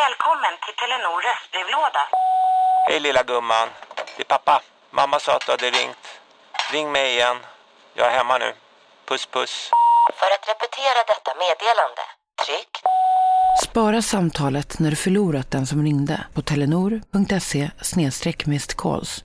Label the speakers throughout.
Speaker 1: Välkommen till Telenor röstbrevlåda.
Speaker 2: Hej lilla gumman. Det är pappa. Mamma sa att du hade ringt. Ring mig igen. Jag är hemma nu. Puss puss.
Speaker 1: För att repetera detta meddelande, tryck
Speaker 3: Spara samtalet när du förlorat den som ringde på telenor.se missedcalls.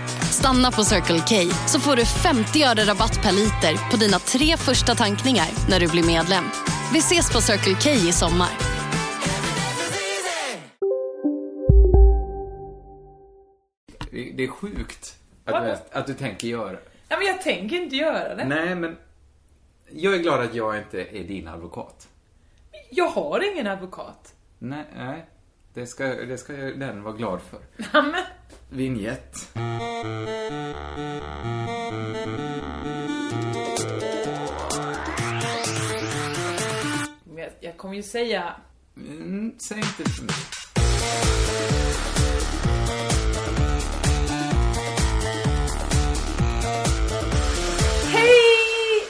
Speaker 4: Stanna på Circle K så får du 50 öre rabatt per liter på dina tre första tankningar när du blir medlem. Vi ses på Circle K i sommar.
Speaker 5: Det det är sjukt att du, att du tänker göra.
Speaker 6: Ja, men jag tänker inte göra det.
Speaker 5: Nej, men jag är glad att jag inte är din advokat.
Speaker 6: Jag har ingen advokat.
Speaker 5: Nej, nej. Det ska, det ska jag- den vara glad för.
Speaker 6: Ja, men,
Speaker 5: Vignett.
Speaker 6: men jag, jag kommer ju säga...
Speaker 5: Mm, säg inte för mycket.
Speaker 6: Hej!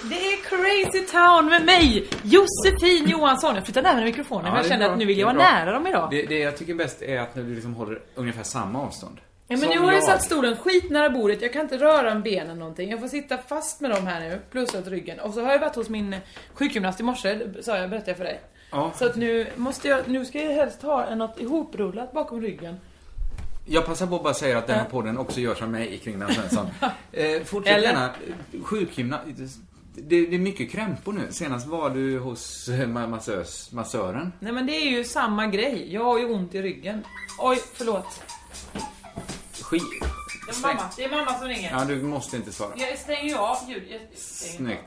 Speaker 6: Det är Crazy Town med mig, Josefin Johansson. Jag flyttade närmare mikrofonen
Speaker 5: Ja,
Speaker 6: för
Speaker 5: det
Speaker 6: jag
Speaker 5: är
Speaker 6: kände
Speaker 5: bra.
Speaker 6: att nu vill jag
Speaker 5: Det är
Speaker 6: vara
Speaker 5: bra.
Speaker 6: nära dem idag.
Speaker 5: Det, det jag tycker bäst är att när du liksom håller ungefär samma avstånd.
Speaker 6: ja, men nu
Speaker 5: Som
Speaker 6: har jag
Speaker 5: jag.
Speaker 6: satt stolen skitnära bordet, jag kan inte röra om benen någonting. Jag får sitta fast med dem här nu, plus att ryggen. Och så har jag varit hos min sjukgymnast i morse, det sa jag, berättade jag för dig.
Speaker 5: Ja.
Speaker 6: Så att nu måste jag, nu ska jag helst ha en- något ihoprullat bakom ryggen.
Speaker 5: Jag passar på att bara säga att den här podden också görs av mig, Kringland Svensson. eh, fortsätt
Speaker 6: Eller?
Speaker 5: gärna. Sjukgymnast. Det, det är mycket krämpor nu. Senast var du hos eh, ma- massös, massören.
Speaker 6: Nej men det är ju samma grej, jag har ju ont i ryggen. Oj, förlåt.
Speaker 5: Skit.
Speaker 6: Det är mamma, det är mamma som ringer.
Speaker 5: Ja, du måste inte svara.
Speaker 6: Jag stänger ju av ljudet. Jag stänger av.
Speaker 5: Snyggt.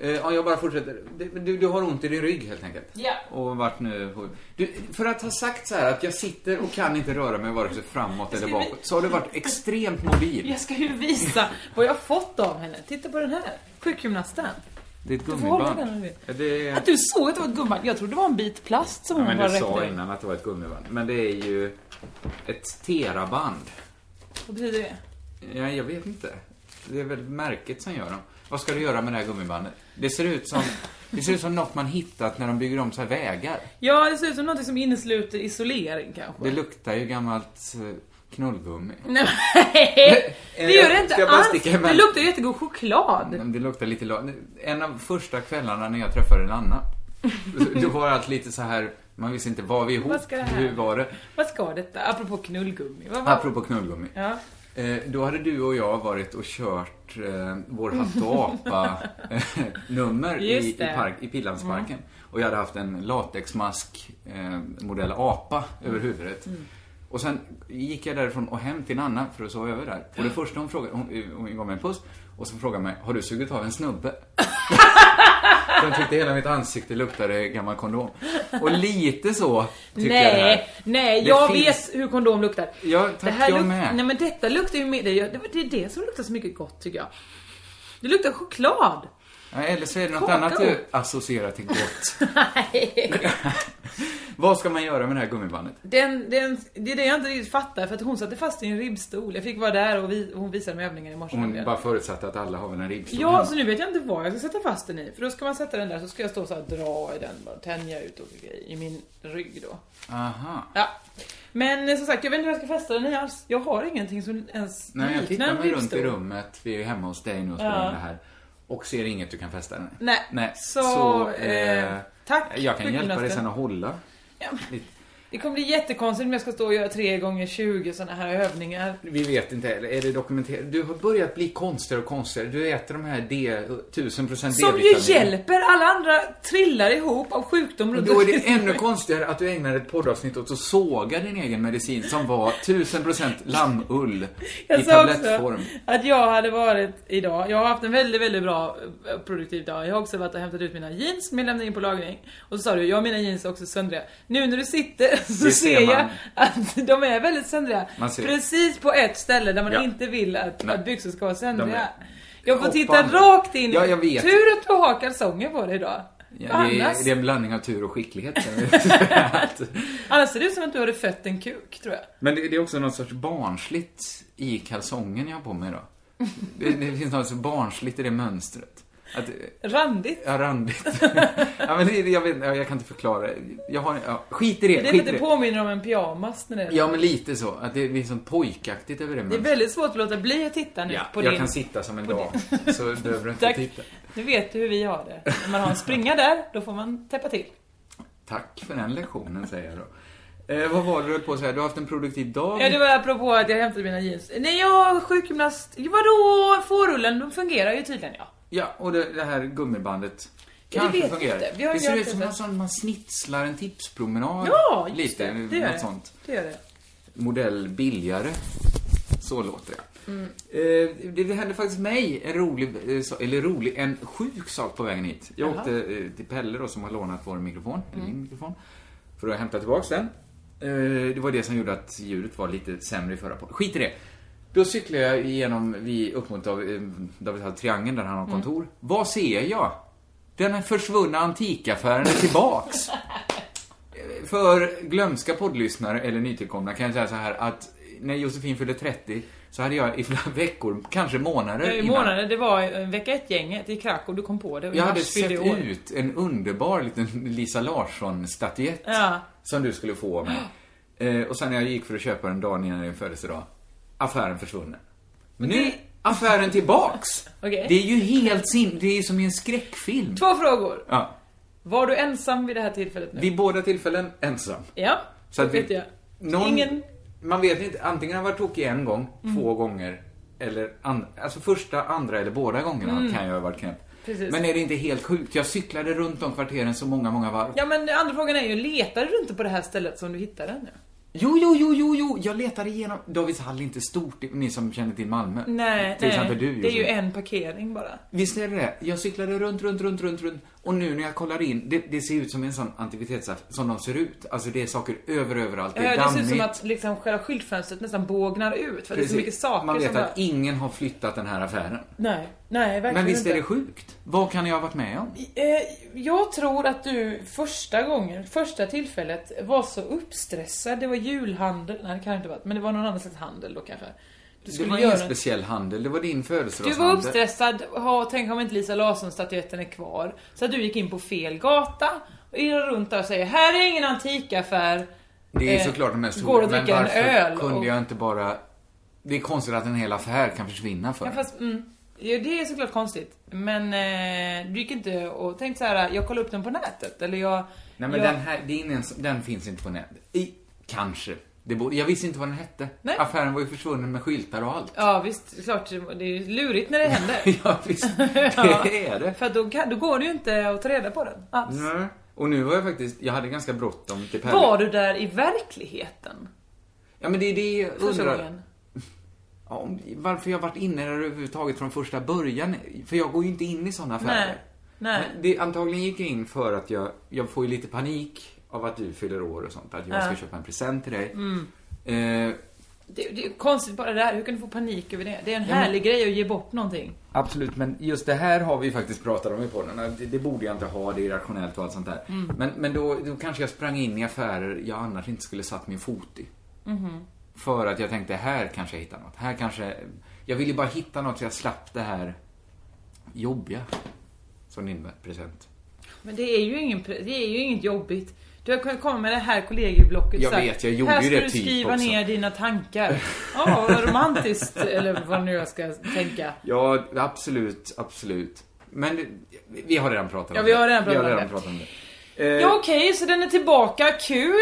Speaker 5: Eh, ja, jag bara fortsätter. Du, du, du har ont i din rygg helt enkelt?
Speaker 6: Ja.
Speaker 5: Och vart nu... Du, för att ha sagt så här att jag sitter och kan inte röra mig vare sig framåt eller
Speaker 6: ska vi-
Speaker 5: bakåt, så har du varit extremt mobil.
Speaker 6: Jag ska ju visa vad jag har fått av henne. Titta på den här. Sjukgymnasten.
Speaker 5: Det är ett
Speaker 6: Du får hålla
Speaker 5: gummiband.
Speaker 6: den om du vill.
Speaker 5: Ja, Det är...
Speaker 6: Att du såg att det var ett gummiband. Jag trodde det var en bit plast som
Speaker 5: Ja,
Speaker 6: hon
Speaker 5: men
Speaker 6: bara
Speaker 5: du sa
Speaker 6: räckte.
Speaker 5: innan att det var ett gummiband. Men det är ju ett teraband.
Speaker 6: Vad betyder det?
Speaker 5: Ja, jag vet inte. Det är väl märket som gör dem. Vad ska du göra med det här gummibandet? Det ser ut som, det ser ut som något man hittat när de bygger om så här vägar.
Speaker 6: Ja, det ser ut som något som innesluter isolering kanske.
Speaker 5: Det luktar ju gammalt eh, knullgummi.
Speaker 6: Nej, men- det gör det
Speaker 5: Ska
Speaker 6: inte
Speaker 5: jag bara
Speaker 6: alls.
Speaker 5: sticka emellan?
Speaker 6: Det luktar jättegod choklad.
Speaker 5: Men Det luktar lite la- En av första kvällarna när jag träffade Anna, då var allt lite så här, man visste inte, var vi ihop?
Speaker 6: Vad ska det här?
Speaker 5: Hur var det?
Speaker 6: Vad ska detta? Apropå knullgummi. Vad, vad?
Speaker 5: Apropå knullgummi.
Speaker 6: Ja.
Speaker 5: Eh, Då hade du och jag varit och kört eh, vår Hatt och apa-nummer i,
Speaker 6: Just
Speaker 5: i,
Speaker 6: det. Mm.
Speaker 5: park- i Pildammsparken. Och jag hade haft en latexmask eh, modell apa
Speaker 6: Mm.
Speaker 5: över huvudet. Och sen gick jag därifrån och hem till Nanna för att sova över där. Och det första hon frågade, hon, hon gav mig en puss och så frågade hon mig, har du sugit av en snubbe? Så jag tyckte hela mitt ansikte luktade gammal kondom. Och lite så tycker jag det här.
Speaker 6: Nej, nej,
Speaker 5: Det
Speaker 6: jag
Speaker 5: finns-
Speaker 6: vet hur kondom luktar.
Speaker 5: Ja, tack, jag
Speaker 6: luk-
Speaker 5: med.
Speaker 6: Nej men detta luktar ju mer, det är det är det som luktar så mycket gott tycker jag. Det luktar choklad.
Speaker 5: Ja, eller så är det något
Speaker 6: Kakao.
Speaker 5: annat du associerar till gott. Vad ska man göra med det här gummibandet?
Speaker 6: Den, den, det är det jag inte riktigt fattar för att hon satte fast i en ribbstol. Jag fick vara där och, vi, och hon visade mig övningen i morse.
Speaker 5: Hon bara Mm. förutsatte att alla har väl en ribbstol hemma.
Speaker 6: Ja, så nu vet jag inte vad jag ska sätta fast den i. För då ska man sätta den där så ska jag stå så här och dra i den, bara tänja ut och i min rygg då.
Speaker 5: Aha.
Speaker 6: Ja. Men eh, som sagt, jag vet inte vad jag ska fästa den i alls. Jag har ingenting som ens
Speaker 5: Nej, jag tittar
Speaker 6: liknar en
Speaker 5: mig runt i
Speaker 6: ribbstol.
Speaker 5: rummet. Vi är hemma hos dig nu och spelar in det här. Och ser inget du kan fästa den i.
Speaker 6: Nej,
Speaker 5: Nej.
Speaker 6: så,
Speaker 5: eh,
Speaker 6: eh, tack,
Speaker 5: Jag kan hjälpa dig
Speaker 6: sjukgymnasten.
Speaker 5: sen att hålla.
Speaker 6: Ja, men Det kommer bli jättekonstigt om jag ska stå och göra 3 gånger 20 såna här övningar.
Speaker 5: Vi vet inte heller. Är det dokumenterat? Du har börjat bli konstigare och konstigare. Du äter de här D, 1000% D-vitamin.
Speaker 6: Som ju hjälper! Alla andra trillar ihop av sjukdom
Speaker 5: Och
Speaker 6: runt
Speaker 5: Då är
Speaker 6: omkring.
Speaker 5: det ännu konstigare att du ägnade ett poddavsnitt åt att såga din egen medicin som var 1000% lammull i
Speaker 6: Jag sa också
Speaker 5: tablettform.
Speaker 6: att jag hade varit idag, jag har haft en väldigt, väldigt bra eh, produktiv dag. Jag har också varit och hämtat ut mina jeans som jag lämnade in på lagring. Och så sa du, jag och mina jeans är också söndriga. Nu när du sitter så
Speaker 5: Det
Speaker 6: ser
Speaker 5: ser
Speaker 6: jag
Speaker 5: man.
Speaker 6: att de är väldigt söndriga.
Speaker 5: Man ser-
Speaker 6: Precis på ett ställe där man
Speaker 5: Ja.
Speaker 6: inte vill att,
Speaker 5: Nej.
Speaker 6: att byxor ska vara söndriga.
Speaker 5: De är-
Speaker 6: Jag får
Speaker 5: Hoppa
Speaker 6: titta
Speaker 5: nu.
Speaker 6: rakt in.
Speaker 5: Ja, jag vet.
Speaker 6: Tur att du har kalsonger på dig idag.
Speaker 5: Ja, det,
Speaker 6: annars,
Speaker 5: är, det är en blandning av tur och skicklighet.
Speaker 6: annars ser det ut som att du hade fött en kuk, tror jag.
Speaker 5: Men det, det är också något sorts barnsligt i kalsongen jag har på mig då. Det, det finns något så barnsligt i det mönstret. Att,
Speaker 6: Randigt.
Speaker 5: ja, randigt. ja, men det, jag, vet, ja, jag kan inte förklara. Jag har, ja, skit i det,
Speaker 6: Det är för
Speaker 5: skit
Speaker 6: att
Speaker 5: i det.
Speaker 6: det påminner om en pyjamas när det är
Speaker 5: Ja, men lite så. Att det finns något pojkaktigt över det
Speaker 6: Det är
Speaker 5: mönstret.
Speaker 6: väldigt svårt att låta bli att titta nu
Speaker 5: Ja,
Speaker 6: på
Speaker 5: jag
Speaker 6: din.
Speaker 5: kan sitta som en dag, så behöver du inte
Speaker 6: Tack.
Speaker 5: titta.
Speaker 6: Nu vet du hur vi har det. Om man har en springa där, då får man täppa till.
Speaker 5: Tack för den lektionen, säger jag då. Eh, vad var det du höll på att säga? Du har haft en produktiv dag?
Speaker 6: Ja, det var apropå att jag hämtade mina jeans. Nej, jag är sjukgymnast. Vadå? Fårullen, de fungerar ju tydligen ja.
Speaker 5: Ja, och det, det här gummibandet
Speaker 6: Ja, det
Speaker 5: kanske
Speaker 6: vet vi
Speaker 5: fungerar.
Speaker 6: inte. Vi har
Speaker 5: det
Speaker 6: ju
Speaker 5: ser ut
Speaker 6: inte
Speaker 5: som
Speaker 6: sett.
Speaker 5: en sån man snitslar en tipspromenad.
Speaker 6: Ja, just
Speaker 5: lite,
Speaker 6: det. Det gör
Speaker 5: något
Speaker 6: det.
Speaker 5: sånt.
Speaker 6: Det gör det.
Speaker 5: Modell billigare. Så låter det. Eh, det, det hände faktiskt mig en rolig, eh, sa- eller rolig, en sjuk sak på vägen hit. Jag åkte eh, till Pelle då, som har lånat vår mikrofon, eller min mikrofon, för att hämta tillbaks den. Eh, det var det som gjorde att ljudet var lite sämre i förra podden. Skit i det. Då cyklar jag igenom, vi upp mot Dav- eh, David Halls triangeln där han har kontor. Vad ser jag? Den här försvunna antikaffären är tillbaks. För glömska poddlyssnare eller nytillkomna kan jag säga så här att när Josefin fyllde 30 så hade jag i flera veckor, kanske månader
Speaker 6: I
Speaker 5: innan,
Speaker 6: månaden, det var en vecka ett-gänget i Krakow, du kom på det. och i
Speaker 5: jag
Speaker 6: mars
Speaker 5: hade
Speaker 6: fyllde
Speaker 5: sett
Speaker 6: jag år.
Speaker 5: ut en underbar liten Lisa Larsson-statyett
Speaker 6: Ja.
Speaker 5: som du skulle få av mig. Eh, och sen när jag gick för att köpa den dagen innan din födelsedag, affären försvunnen. Men nu är affären tillbaks!
Speaker 6: Okej.
Speaker 5: Det är ju helt sin... Det är ju som i en skräckfilm.
Speaker 6: Två frågor.
Speaker 5: Ja.
Speaker 6: Var du ensam vid det här tillfället nu?
Speaker 5: Vid båda tillfällen ensam.
Speaker 6: Ja,
Speaker 5: Så
Speaker 6: det
Speaker 5: att vi-
Speaker 6: vet jag.
Speaker 5: Någon,
Speaker 6: Ingen... Mm.
Speaker 5: Man vet inte, antingen har han varit tokig en gång, två gånger, eller and, alltså första, andra eller båda gångerna kan jag ha varit knäpp.
Speaker 6: Mm. Precis.
Speaker 5: Men är det inte helt sjukt? Jag cyklade runt om kvarteren så många, många varv.
Speaker 6: Ja men andra frågan är ju, letade du inte på det här stället som du hittade nu?
Speaker 5: Jo, jo, jo, jo, jo! Jag letade igenom. Davids hall är inte stort, ni som känner till Malmö.
Speaker 6: Nej,
Speaker 5: Till
Speaker 6: nej.
Speaker 5: exempel du,
Speaker 6: Det är ju
Speaker 5: Josefin.
Speaker 6: en parkering bara.
Speaker 5: Visst är det det? Jag cyklade runt, runt, runt, runt, runt. Och nu när jag kollar in, det, det ser ut som en sån antikvitetssaft som de ser ut. Alltså det är saker över, överallt. Det
Speaker 6: Ja,
Speaker 5: är
Speaker 6: det ser
Speaker 5: dammigt.
Speaker 6: ut som att liksom själva skyltfönstret nästan bågnar ut för det är så
Speaker 5: Precis.
Speaker 6: mycket saker
Speaker 5: Man vet
Speaker 6: som
Speaker 5: att
Speaker 6: bara...
Speaker 5: ingen har flyttat den här affären.
Speaker 6: Nej, nej verkligen
Speaker 5: Men visst är
Speaker 6: inte.
Speaker 5: det sjukt? Vad kan jag ha varit med om?
Speaker 6: Eh, Jag tror att du första gången, första tillfället var så uppstressad. Det var julhandel, nej det kan det inte ha varit, men det var någon annan slags handel då kanske. Du
Speaker 5: Det
Speaker 6: skulle
Speaker 5: var ingen
Speaker 6: göra något.
Speaker 5: speciell handel, det var din
Speaker 6: Du var
Speaker 5: födelsedagshandel.
Speaker 6: uppstressad, ha, tänk om inte Lisa Larsson-statyetten är kvar. Så att du gick in på fel gata och irrade runt där och säger här är ingen antikaffär.
Speaker 5: Det är
Speaker 6: Eh,
Speaker 5: såklart den mest
Speaker 6: går
Speaker 5: stora,
Speaker 6: att
Speaker 5: men
Speaker 6: dricka en
Speaker 5: varför
Speaker 6: öl
Speaker 5: kunde
Speaker 6: och-
Speaker 5: jag inte bara... Det är konstigt att en hel affär kan försvinna för.
Speaker 6: Ja, fast, mm, ja, det är såklart konstigt. Men eh, du gick inte och tänkte så här: jag kollar upp den på nätet. Eller jag...
Speaker 5: Nej men
Speaker 6: jag,
Speaker 5: den här, det är ingen, den finns inte på nätet. I- Kanske. Det borde, jag visste inte vad den hette.
Speaker 6: Nej.
Speaker 5: Affären var ju försvunnen med skyltar och allt.
Speaker 6: Ja visst, det är klart. Det är lurigt när det händer.
Speaker 5: ja visst,
Speaker 6: Ja.
Speaker 5: det är det.
Speaker 6: För att då, kan, då går det ju inte att ta reda på den alls.
Speaker 5: Nej. Och nu var jag faktiskt, jag hade ganska bråttom till Pelle.
Speaker 6: Var du där i verkligheten?
Speaker 5: Ja men det är det jag
Speaker 6: Första
Speaker 5: undrar.
Speaker 6: gången?
Speaker 5: Ja, om, varför jag varit inne där överhuvudtaget från första början. För jag går ju inte in i sådana affärer.
Speaker 6: Nej. Nej.
Speaker 5: Men Det, antagligen gick jag in för att jag, jag får ju lite panik av att du fyller år och sånt. Att jag ska köpa en present till dig.
Speaker 6: Mm.
Speaker 5: Eh,
Speaker 6: Det, det är ju konstigt bara det här. Hur kan du få panik över det? Det är en härlig grej att ge bort någonting.
Speaker 5: absolut, men just det här har vi ju faktiskt pratat om i podden. Att Det, det borde jag inte ha, det är irrationellt och allt sånt där.
Speaker 6: Mm.
Speaker 5: Men, men då, då kanske jag sprang in i affärer jag annars inte skulle satt min fot i.
Speaker 6: Mm-hmm.
Speaker 5: För att jag tänkte, här kanske jag hittar något. Här kanske... Jag ville ju bara hitta något så jag slapp det här jobbiga. Som det innebär, present.
Speaker 6: Men det är ju, ingen, pre- det är ju inget jobbigt. Du har kunnat komma med det här kollegieblocket
Speaker 5: Jag
Speaker 6: så här,
Speaker 5: vet, jag gjorde
Speaker 6: Här
Speaker 5: ju
Speaker 6: ska
Speaker 5: det
Speaker 6: du
Speaker 5: typ
Speaker 6: skriva
Speaker 5: också."
Speaker 6: ner dina tankar. Ja, vad romantiskt. eller vad nu jag ska tänka.
Speaker 5: Ja, absolut, absolut. Men det- vi har redan pratat om
Speaker 6: Ja,
Speaker 5: det.
Speaker 6: vi har redan pratat om det.
Speaker 5: om det. Eh,
Speaker 6: Ja okej, så den är tillbaka. Kul!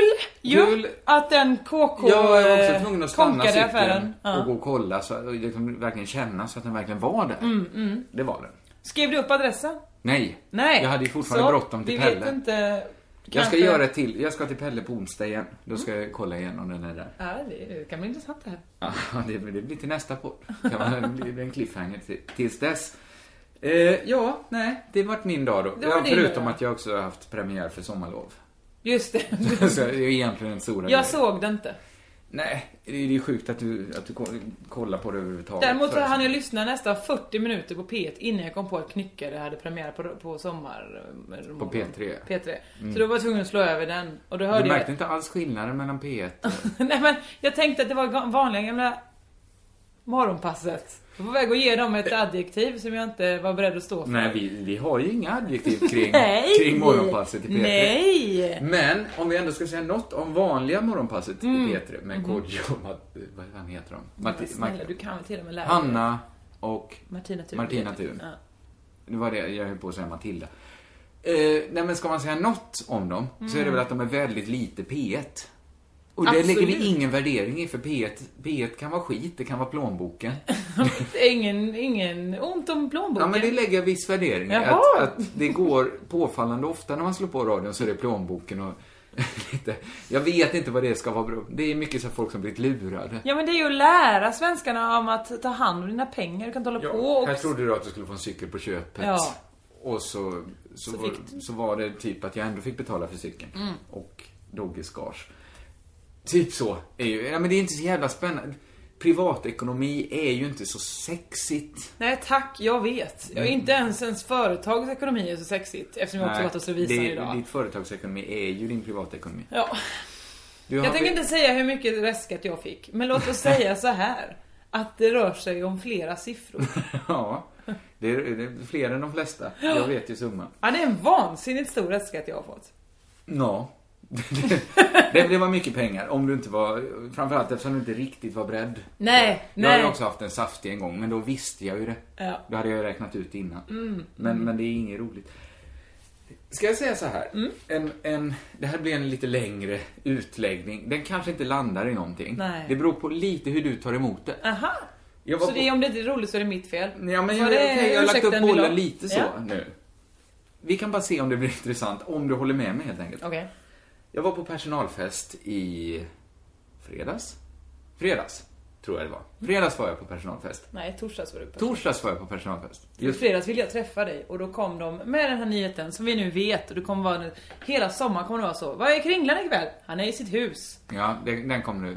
Speaker 6: Jo,
Speaker 5: Kul.
Speaker 6: att den KK
Speaker 5: jag var
Speaker 6: eh,
Speaker 5: också tvungen att stanna
Speaker 6: konkade
Speaker 5: cykeln
Speaker 6: Ja.
Speaker 5: och gå och kolla så och liksom verkligen känna så att den verkligen var där.
Speaker 6: Mm,
Speaker 5: Det var den.
Speaker 6: Skrev du upp adressen?
Speaker 5: Nej.
Speaker 6: Nej.
Speaker 5: Jag hade ju fortfarande
Speaker 6: Så,
Speaker 5: bråttom till
Speaker 6: vi
Speaker 5: Pelle.
Speaker 6: Vet inte,
Speaker 5: Jag ska
Speaker 6: kanske-
Speaker 5: göra ett till. Jag ska till Pelle på onsdag igen. Då ska jag kolla igen om den är där.
Speaker 6: Ja, det kan bli intressant det här.
Speaker 5: Ja, det, det blir till nästa podd. Kan man- Det blir en cliffhanger till, tills dess. Eh, ja, nej, det vart min dag då.
Speaker 6: Det var
Speaker 5: ja,
Speaker 6: din
Speaker 5: förutom
Speaker 6: dag.
Speaker 5: att jag också har haft premiär för sommarlov.
Speaker 6: Just det.
Speaker 5: Så det är ju egentligen en stora
Speaker 6: Jag
Speaker 5: grej.
Speaker 6: såg det inte.
Speaker 5: Nej, det är ju sjukt att du, att du ko- kollar på det överhuvudtaget.
Speaker 6: Däremot så
Speaker 5: För-
Speaker 6: hann jag lyssna nästan 40 minuter på P1 innan jag kom på att Knyckare hade premiär på, på sommar...
Speaker 5: På P3.
Speaker 6: P3. Så då var jag tvungen att slå över den. Och då hörde
Speaker 5: Du
Speaker 6: jag...
Speaker 5: märkte inte alls skillnaden mellan P1 och...
Speaker 6: Nej men jag tänkte att det var ga- vanliga gamla morgonpasset. Jag var på väg att ge dem ett adjektiv som jag inte var beredd att stå för.
Speaker 5: Eh. Nej, vi, vi har ju inga adjektiv kring,
Speaker 6: Nej.
Speaker 5: kring morgonpasset i P3.
Speaker 6: Nej!
Speaker 5: Men om vi ändå ska säga något om vanliga morgonpasset i P3 med KJ och Matt, vad fan heter de?
Speaker 6: Mm. Mm-hmm. Men
Speaker 5: Matti,
Speaker 6: Snälla,
Speaker 5: Mac-
Speaker 6: du kan väl till och med lära dig.
Speaker 5: Hanna och...
Speaker 6: Martina Thun.
Speaker 5: Martina Thun.
Speaker 6: Ja.
Speaker 5: Nu var det, jag höll på att säga Matilda. Eh, nej men ska man säga något om dem så
Speaker 6: Mm.
Speaker 5: är det väl att de är väldigt lite P1. Och det lägger vi
Speaker 6: Absolut.
Speaker 5: ingen värdering i för P1, P1 kan vara skit, det kan vara plånboken.
Speaker 6: Ingen, ingen ont om
Speaker 5: Ja
Speaker 6: plånboken.
Speaker 5: men det lägger jag viss värdering i.
Speaker 6: Jaha.
Speaker 5: Att, att det går påfallande ofta när man slår på radion så är det plånboken och lite... Jag vet inte vad det ska vara bra. Det är mycket så här folk som blivit lurade.
Speaker 6: Ja men det är ju att lära svenskarna om att ta hand om dina pengar, du kan inte hålla på och...
Speaker 5: Här trodde du att du skulle få en cykel på köpet.
Speaker 6: Ja.
Speaker 5: Och så, så,
Speaker 6: Så
Speaker 5: var,
Speaker 6: fick Mm.
Speaker 5: så var det typ att jag ändå fick betala för cykeln. Och Dogge skars. Typ så. Är ju, ja, men det är inte så jävla spännande. Privatekonomi är ju inte så sexigt.
Speaker 6: Nej tack, jag vet. Jag,
Speaker 5: Mm.
Speaker 6: inte ens ens företagets ekonomi är så sexigt eftersom jag också varit hos revisorn
Speaker 5: det,
Speaker 6: idag.
Speaker 5: Ditt företagsekonomi är ju din privatekonomi.
Speaker 6: Ja.
Speaker 5: Du har-
Speaker 6: Jag tänker inte säga hur mycket väskat jag fick, men låt oss säga så här. Att det rör sig om flera siffror.
Speaker 5: Ja, det är, det är fler än de flesta. Jag vet ju summan.
Speaker 6: Ja, det är en vansinnigt stor väskat jag har fått.
Speaker 5: Ja. det, det var mycket pengar om du inte var, framförallt eftersom du inte riktigt var beredd.
Speaker 6: Nej,
Speaker 5: Jag har ju
Speaker 6: nej.
Speaker 5: också haft en saftig en gång, men då visste jag ju det.
Speaker 6: Ja. Mm.
Speaker 5: Då hade jag ju räknat ut det innan. men, men det är inget roligt. Ska jag säga så här?
Speaker 6: Mm.
Speaker 5: En, en, det här blir en lite längre utläggning. Den kanske inte landar i någonting.
Speaker 6: Nej.
Speaker 5: Det beror på lite hur du tar emot det.
Speaker 6: Aha!
Speaker 5: Jag var
Speaker 6: Så
Speaker 5: på-
Speaker 6: det, om det inte är roligt så är det mitt fel?
Speaker 5: Ja, men
Speaker 6: Var
Speaker 5: jag,
Speaker 6: det
Speaker 5: okej, jag har lagt upp
Speaker 6: ursäkten vi la?
Speaker 5: bollen lite så
Speaker 6: Ja.
Speaker 5: nu. Vi kan bara se om det blir intressant, om du håller med mig helt enkelt.
Speaker 6: Okej.
Speaker 5: Jag var på personalfest i fredags. Fredags, tror jag det
Speaker 6: Mm.
Speaker 5: var. Fredags var jag på personalfest.
Speaker 6: Nej, torsdags var du uppe.
Speaker 5: Torsdags var jag på personalfest.
Speaker 6: I
Speaker 5: Just
Speaker 6: fredags ville jag träffa dig och då kom de med den här nyheten som vi nu vet och det kommer vara hela sommaren kommer det vara så. Vad är Kringlan ikväll? Han är i sitt hus.
Speaker 5: Ja, den, den kom nu.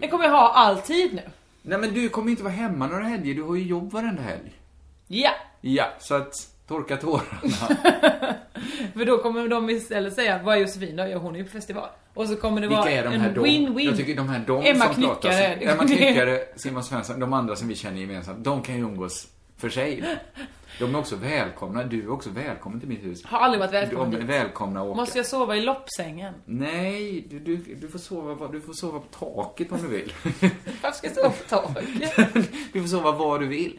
Speaker 6: Den kommer jag ha alltid nu.
Speaker 5: Nej men du kommer ju inte vara hemma några helger, du har ju jobb varenda helg.
Speaker 6: Ja!
Speaker 5: Ja, så att torka tårarna.
Speaker 6: För då kommer de istället säga, vad är Josefin då? Ja, hon är ju på festival. Och så kommer det
Speaker 5: Vilka
Speaker 6: vara
Speaker 5: är de här
Speaker 6: en
Speaker 5: dom?
Speaker 6: win-win.
Speaker 5: Jag tycker de här dom
Speaker 6: Emma
Speaker 5: som pratar,
Speaker 6: Knyckare.
Speaker 5: som- Emma Knyckare, Simon Svensson, de andra som vi känner gemensamt, de kan ju umgås för sig. De är också välkomna, du är också välkommen till mitt hus.
Speaker 6: Har aldrig varit välkommen
Speaker 5: De är
Speaker 6: dit.
Speaker 5: välkomna att åka.
Speaker 6: Måste jag sova i loppsängen?
Speaker 5: Nej, du, du, du, får sova, var- du får sova på taket om du vill.
Speaker 6: Varför ska jag sova på taket?
Speaker 5: du får sova var du vill.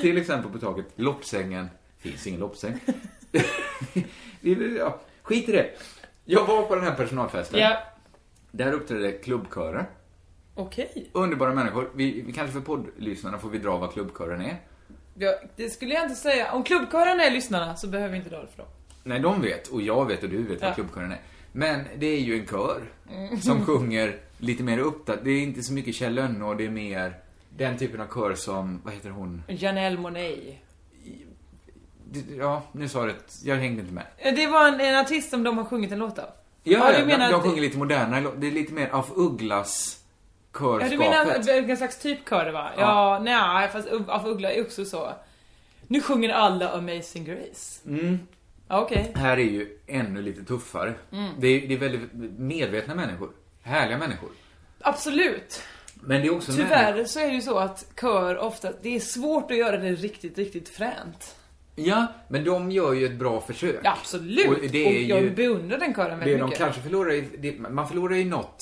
Speaker 5: till exempel på taket, loppsängen. Finns ingen loppsäng. Det är- ja, skit i det. Jag var på den här personalfesten.
Speaker 6: Ja,
Speaker 5: Där uppträdde klubbkörer.
Speaker 6: okej.
Speaker 5: Underbara människor. Vi, vi kanske för poddlyssnarna får vi dra vad klubbkören är.
Speaker 6: Jag- Det skulle jag inte säga. Om klubbkören är lyssnarna så behöver vi inte dra det för dem.
Speaker 5: Nej, de vet, och jag vet och du vet
Speaker 6: Ja. Mm.
Speaker 5: vad klubbkören är. Men det är ju en kör som sjunger lite mer uppdaterat. Det är inte så mycket Kjell Lönnå, och det är mer den typen av kör som, vad heter hon?
Speaker 6: Janelle Monáe.
Speaker 5: Det- Ja, nu sa du ett, jag hängde inte med.
Speaker 6: Eh, Det var en, en artist som de har sjungit en låt av.
Speaker 5: Ja,
Speaker 6: du
Speaker 5: ja,
Speaker 6: menar
Speaker 5: de,
Speaker 6: att-
Speaker 5: de sjunger lite moderna lå- Det är lite mer af Ugglas
Speaker 6: Ja,
Speaker 5: körskapet.
Speaker 6: du menar vilken slags typkör det var? Ja, nej, fast U- af Uggla är också så. Nu sjunger alla Amazing Grace. Mm. Okej.
Speaker 5: Här är ju ännu lite tuffare.
Speaker 6: Mm.
Speaker 5: Det, är, det är väldigt medvetna människor. Härliga människor.
Speaker 6: Absolut.
Speaker 5: Men det är också människor-
Speaker 6: Tyvärr så är det ju så att kör ofta, det är svårt att göra det riktigt, riktigt fränt.
Speaker 5: Ja, men de gör ju ett bra försök.
Speaker 6: Ja, absolut.
Speaker 5: Och det är
Speaker 6: jag
Speaker 5: ju...
Speaker 6: beundrar den kören
Speaker 5: Det
Speaker 6: väldigt
Speaker 5: de
Speaker 6: mycket.
Speaker 5: kanske förlorar i, det, man förlorar ju något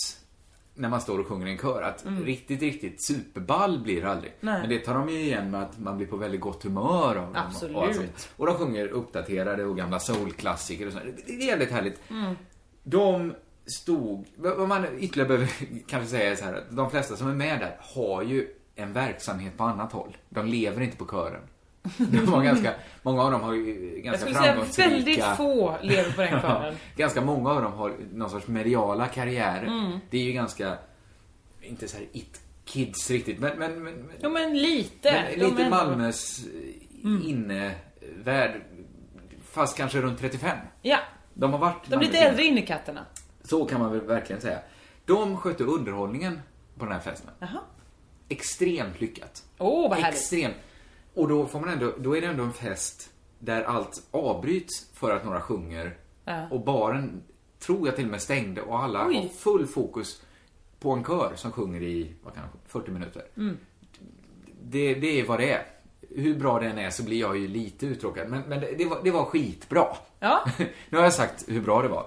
Speaker 5: när man står och sjunger i en kör. Att riktigt, riktigt superball blir det aldrig.
Speaker 6: Mm. Nej.
Speaker 5: Men det tar de ju igen med att man blir på väldigt gott humör av dem.
Speaker 6: Absolut.
Speaker 5: Och, allt sånt. och de sjunger uppdaterade och gamla soulklassiker och sånt. Det- Det är jävligt härligt.
Speaker 6: Mm.
Speaker 5: De stod, vad man ytterligare behöver kanske säga är så här att de flesta som är med där har ju en verksamhet på annat håll. De lever inte på kören. De har ganska, många av dem har ju
Speaker 6: jag
Speaker 5: ganska
Speaker 6: skulle säga
Speaker 5: framgångsrika...
Speaker 6: väldigt få lever på den kören.
Speaker 5: Ganska många av dem har någon sorts mediala karriärer.
Speaker 6: Mm.
Speaker 5: Det är ju ganska, inte så här it-kids riktigt, men, men, men,
Speaker 6: Jo men lite.
Speaker 5: men
Speaker 6: De
Speaker 5: lite eh,
Speaker 6: är-
Speaker 5: Malmös mm. innevärld, fast kanske runt 35.
Speaker 6: Ja.
Speaker 5: De har varit
Speaker 6: De lite
Speaker 5: mammutgäng.
Speaker 6: äldre innekatterna.
Speaker 5: Så kan man väl verkligen säga. De skötte underhållningen på den här festen.
Speaker 6: Jaha.
Speaker 5: Extremt lyckat.
Speaker 6: Åh, vad härligt.
Speaker 5: Extremt. Och då, får man ändå, då är det ändå en fest där allt avbryts för att några sjunger.
Speaker 6: Ja.
Speaker 5: Och baren tror jag till och med stängde och alla
Speaker 6: Oj.
Speaker 5: har full fokus på en kör som sjunger i vad kan det, 40 minuter.
Speaker 6: Mm.
Speaker 5: Det, det är vad det är. Hur bra den är så blir jag ju lite uttråkad. Men, men det, det, var, det var skitbra.
Speaker 6: Ja.
Speaker 5: nu har jag sagt hur bra det var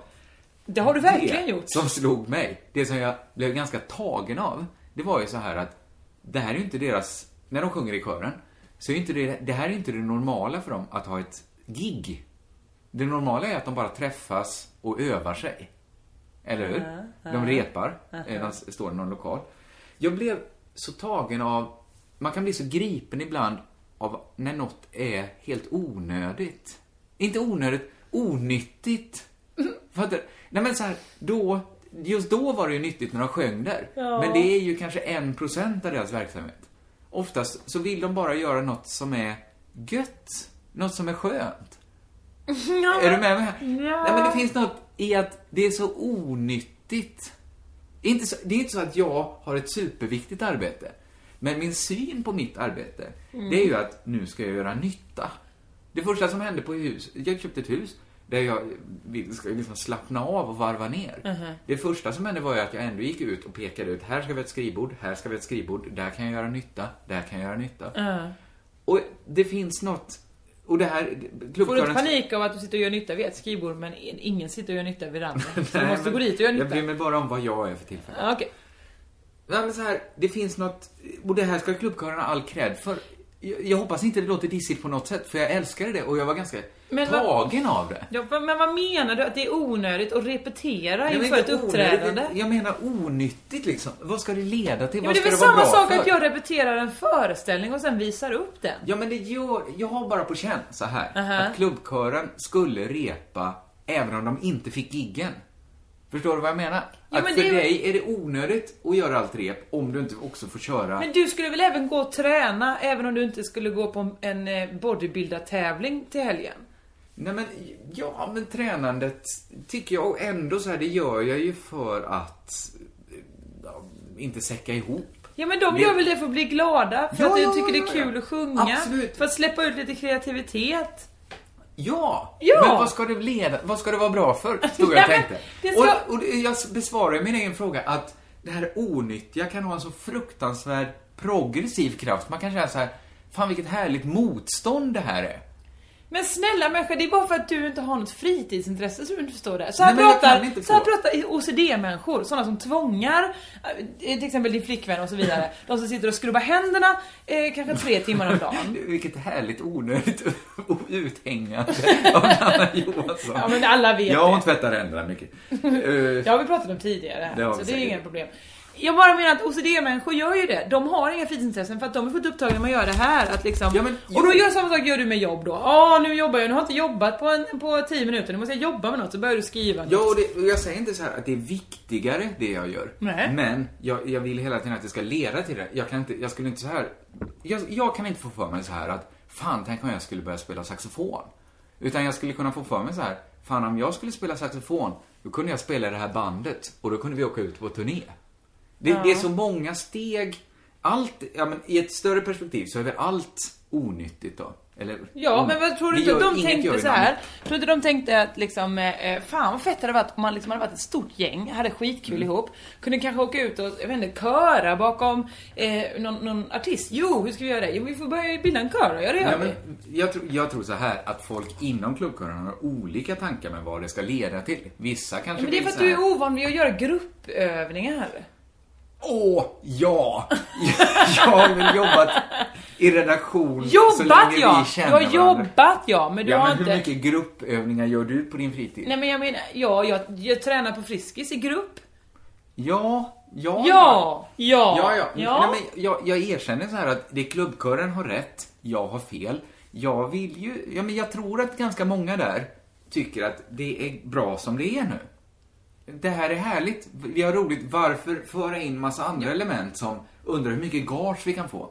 Speaker 6: Det har du verkligen
Speaker 5: det
Speaker 6: gjort.
Speaker 5: som slog mig, det som jag blev ganska tagen av, det var ju så här att det här är ju inte deras, när de sjunger i kören, så är ju inte det, det här är ju inte det normala för dem att ha ett gig. Det normala är att de bara träffas och övar sig. Eller hur? De repar, eh, de s- står i någon lokal. Jag blev så tagen av, man kan bli så gripen ibland av när något är helt onödigt. Inte onödigt, onyttigt. Fattar du? Nej men så här, då, just då var det ju nyttigt när de sjöng där. Men det är ju kanske en procent av deras verksamhet. Oftast så vill de bara göra något som är gött, något som är skönt. Är du med mig här? Nej, men det finns något i att det är så onyttigt. Inte så, det är inte så att jag har ett superviktigt arbete. Men min syn på mitt arbete, det
Speaker 6: Mm.
Speaker 5: är ju att nu ska jag göra nytta. Det första som hände på hus, jag köpte ett hus där jag vill- ska liksom slappna av och varva ner.
Speaker 6: Mm-hmm.
Speaker 5: Det första som hände var ju att jag ändå gick ut och pekade ut, här ska vi ha ett skrivbord, här ska vi ha ett skrivbord, där kan jag göra nytta, där kan jag göra nytta. Och det finns något, och det här,
Speaker 6: Får du inte
Speaker 5: klubbkörens-
Speaker 6: panik av att du sitter och gör nytta vid ett skrivbord men ingen sitter och gör nytta vid det andra? Så du
Speaker 5: Nej,
Speaker 6: måste
Speaker 5: men
Speaker 6: gå dit och göra
Speaker 5: Jag
Speaker 6: nytta?
Speaker 5: bryr mig bara om vad jag är för tillfället.
Speaker 6: Ja, Okej.
Speaker 5: Nej, men så här, det finns något, och det här ska klubbkörarna ha all cred för. Jag, jag hoppas inte det låter dissigt på något sätt, för jag älskade det och jag var ganska
Speaker 6: Men vad-
Speaker 5: tagen av det.
Speaker 6: Ja, vad- men vad menar du? Att det är onödigt att repetera
Speaker 5: Jag
Speaker 6: inför
Speaker 5: menar
Speaker 6: ett
Speaker 5: inte
Speaker 6: uppträdande?
Speaker 5: onödigt, Jag menar onyttigt liksom. Vad ska det leda till?
Speaker 6: Ja, men
Speaker 5: vad
Speaker 6: det är
Speaker 5: ska
Speaker 6: väl
Speaker 5: vara
Speaker 6: samma
Speaker 5: bra
Speaker 6: sak
Speaker 5: för?
Speaker 6: att jag repeterar en föreställning och sen visar upp den?
Speaker 5: Ja, men det gör, jag har bara på känn så här
Speaker 6: Aha.
Speaker 5: att klubbkören skulle repa även om de inte fick giggen. Förstår du vad jag menar?
Speaker 6: Ja,
Speaker 5: att
Speaker 6: men
Speaker 5: för
Speaker 6: det är-
Speaker 5: dig är det onödigt att göra allt rep om du inte också får köra
Speaker 6: Men du skulle väl även gå och träna även om du inte skulle gå på en eh, bodybuildartävling till helgen?
Speaker 5: Nej men, ja men tränandet tycker jag ändå så här, det gör jag ju för att eh, ja, inte säcka ihop.
Speaker 6: Ja men de
Speaker 5: Det-
Speaker 6: gör väl det för att bli glada, för
Speaker 5: Ja,
Speaker 6: att du
Speaker 5: ja,
Speaker 6: tycker det
Speaker 5: ja,
Speaker 6: är
Speaker 5: ja.
Speaker 6: kul att sjunga,
Speaker 5: Absolut.
Speaker 6: för att släppa ut lite kreativitet.
Speaker 5: Ja!
Speaker 6: Ja!
Speaker 5: Men vad ska det leda, vad ska det vara bra för? Stod jag och
Speaker 6: Nej, men
Speaker 5: tänkte.
Speaker 6: det ska-
Speaker 5: Och, och det- jag besvarar ju min egen fråga att det här onyttiga kan ha en så fruktansvärd progressiv kraft. Man kan känna så här, fan vilket härligt motstånd det här är.
Speaker 6: Men snälla människa, det är bara för att du inte har något fritidsintresse som du inte förstår det. Så här
Speaker 5: Nej, men jag kan
Speaker 6: pratar,
Speaker 5: inte
Speaker 6: så här
Speaker 5: få.
Speaker 6: pratar OCD-människor, sådana som tvångar, eh, till exempel din flickvän och så vidare. De som sitter och skrubbar händerna eh, kanske tre timmar om dagen.
Speaker 5: Vilket härligt onödigt och uthängande av Anna Johansson.
Speaker 6: Ja men alla vet
Speaker 5: Ja, hon
Speaker 6: det.
Speaker 5: tvättar händerna mycket. Eh,
Speaker 6: Det har vi pratat om tidigare
Speaker 5: Det
Speaker 6: här,
Speaker 5: har
Speaker 6: så
Speaker 5: vi
Speaker 6: det är
Speaker 5: säkert.
Speaker 6: inga problem. Jag bara menar att OCD-människor gör ju det. De har inga fritidsintressen för att de är fullt upptagna med att göra det här. Att liksom,
Speaker 5: Ja, men-
Speaker 6: och då gör samma sak gör du med jobb då. Ja, nu jobbar jag. Nu har jag inte jobbat på, en, på 10 minuter. Nu måste jag jobba med något. Så börjar du skriva. liksom.
Speaker 5: Ja,
Speaker 6: något.
Speaker 5: och, det, och jag säger inte så här att det är viktigare det jag gör.
Speaker 6: Nej.
Speaker 5: Men jag, jag vill hela tiden att det ska leda till det. Jag, kan inte, jag skulle inte så här... Jag, jag kan inte få för mig så här att fan, tänk om jag skulle börja spela saxofon. Utan jag skulle kunna få för mig så här, fan om jag skulle spela saxofon, då kunde jag spela i det här bandet och då kunde vi åka ut på turné. Det, det är så många steg. Allt, ja men i ett större perspektiv så är väl allt onyttigt då? Eller,
Speaker 6: Ja,
Speaker 5: on-
Speaker 6: men vad tror du
Speaker 5: Det
Speaker 6: inte att
Speaker 5: gör-
Speaker 6: de
Speaker 5: inget gör
Speaker 6: tänkte
Speaker 5: ju
Speaker 6: så här? Tror inte de tänkte att liksom, eh, fan vad fett det hade varit om man liksom hade varit ett stort gäng, hade skitkul
Speaker 5: Mm.
Speaker 6: ihop, kunde kanske åka ut och, jag vet inte, köra bakom eh, någon, någon artist. Jo, hur ska vi göra det? Jo, vi får börja bilda en kör och göra det
Speaker 5: Nej,
Speaker 6: gör vi.
Speaker 5: men jag, tror, jag tror så här att folk inom klubbkören har olika tankar med vad det ska leda till. Vissa kanske
Speaker 6: Men det är för
Speaker 5: vill
Speaker 6: att
Speaker 5: så
Speaker 6: du
Speaker 5: här,
Speaker 6: är ovan vid att göra gruppövningar.
Speaker 5: Åh, ja! jag har väl jobbat i redaktion så
Speaker 6: Jobbat
Speaker 5: länge
Speaker 6: ja!
Speaker 5: vi
Speaker 6: Du
Speaker 5: känner
Speaker 6: har
Speaker 5: varandra.
Speaker 6: jobbat ja, men du
Speaker 5: Ja,
Speaker 6: har
Speaker 5: men hur
Speaker 6: inte...
Speaker 5: mycket gruppövningar gör du på din fritid?
Speaker 6: Nej men jag menar, ja, jag, jag tränar på Friskis i grupp.
Speaker 5: Ja, ja,
Speaker 6: Ja! Ja!
Speaker 5: Ja, ja. Nej, men jag, jag erkänner så här att det klubbkören har rätt, jag har fel. Jag vill ju, ja men jag tror att ganska många där tycker att det är bra som det är nu. Det här är härligt, vi har roligt, varför föra in massa andra element som undrar hur mycket gage vi kan få?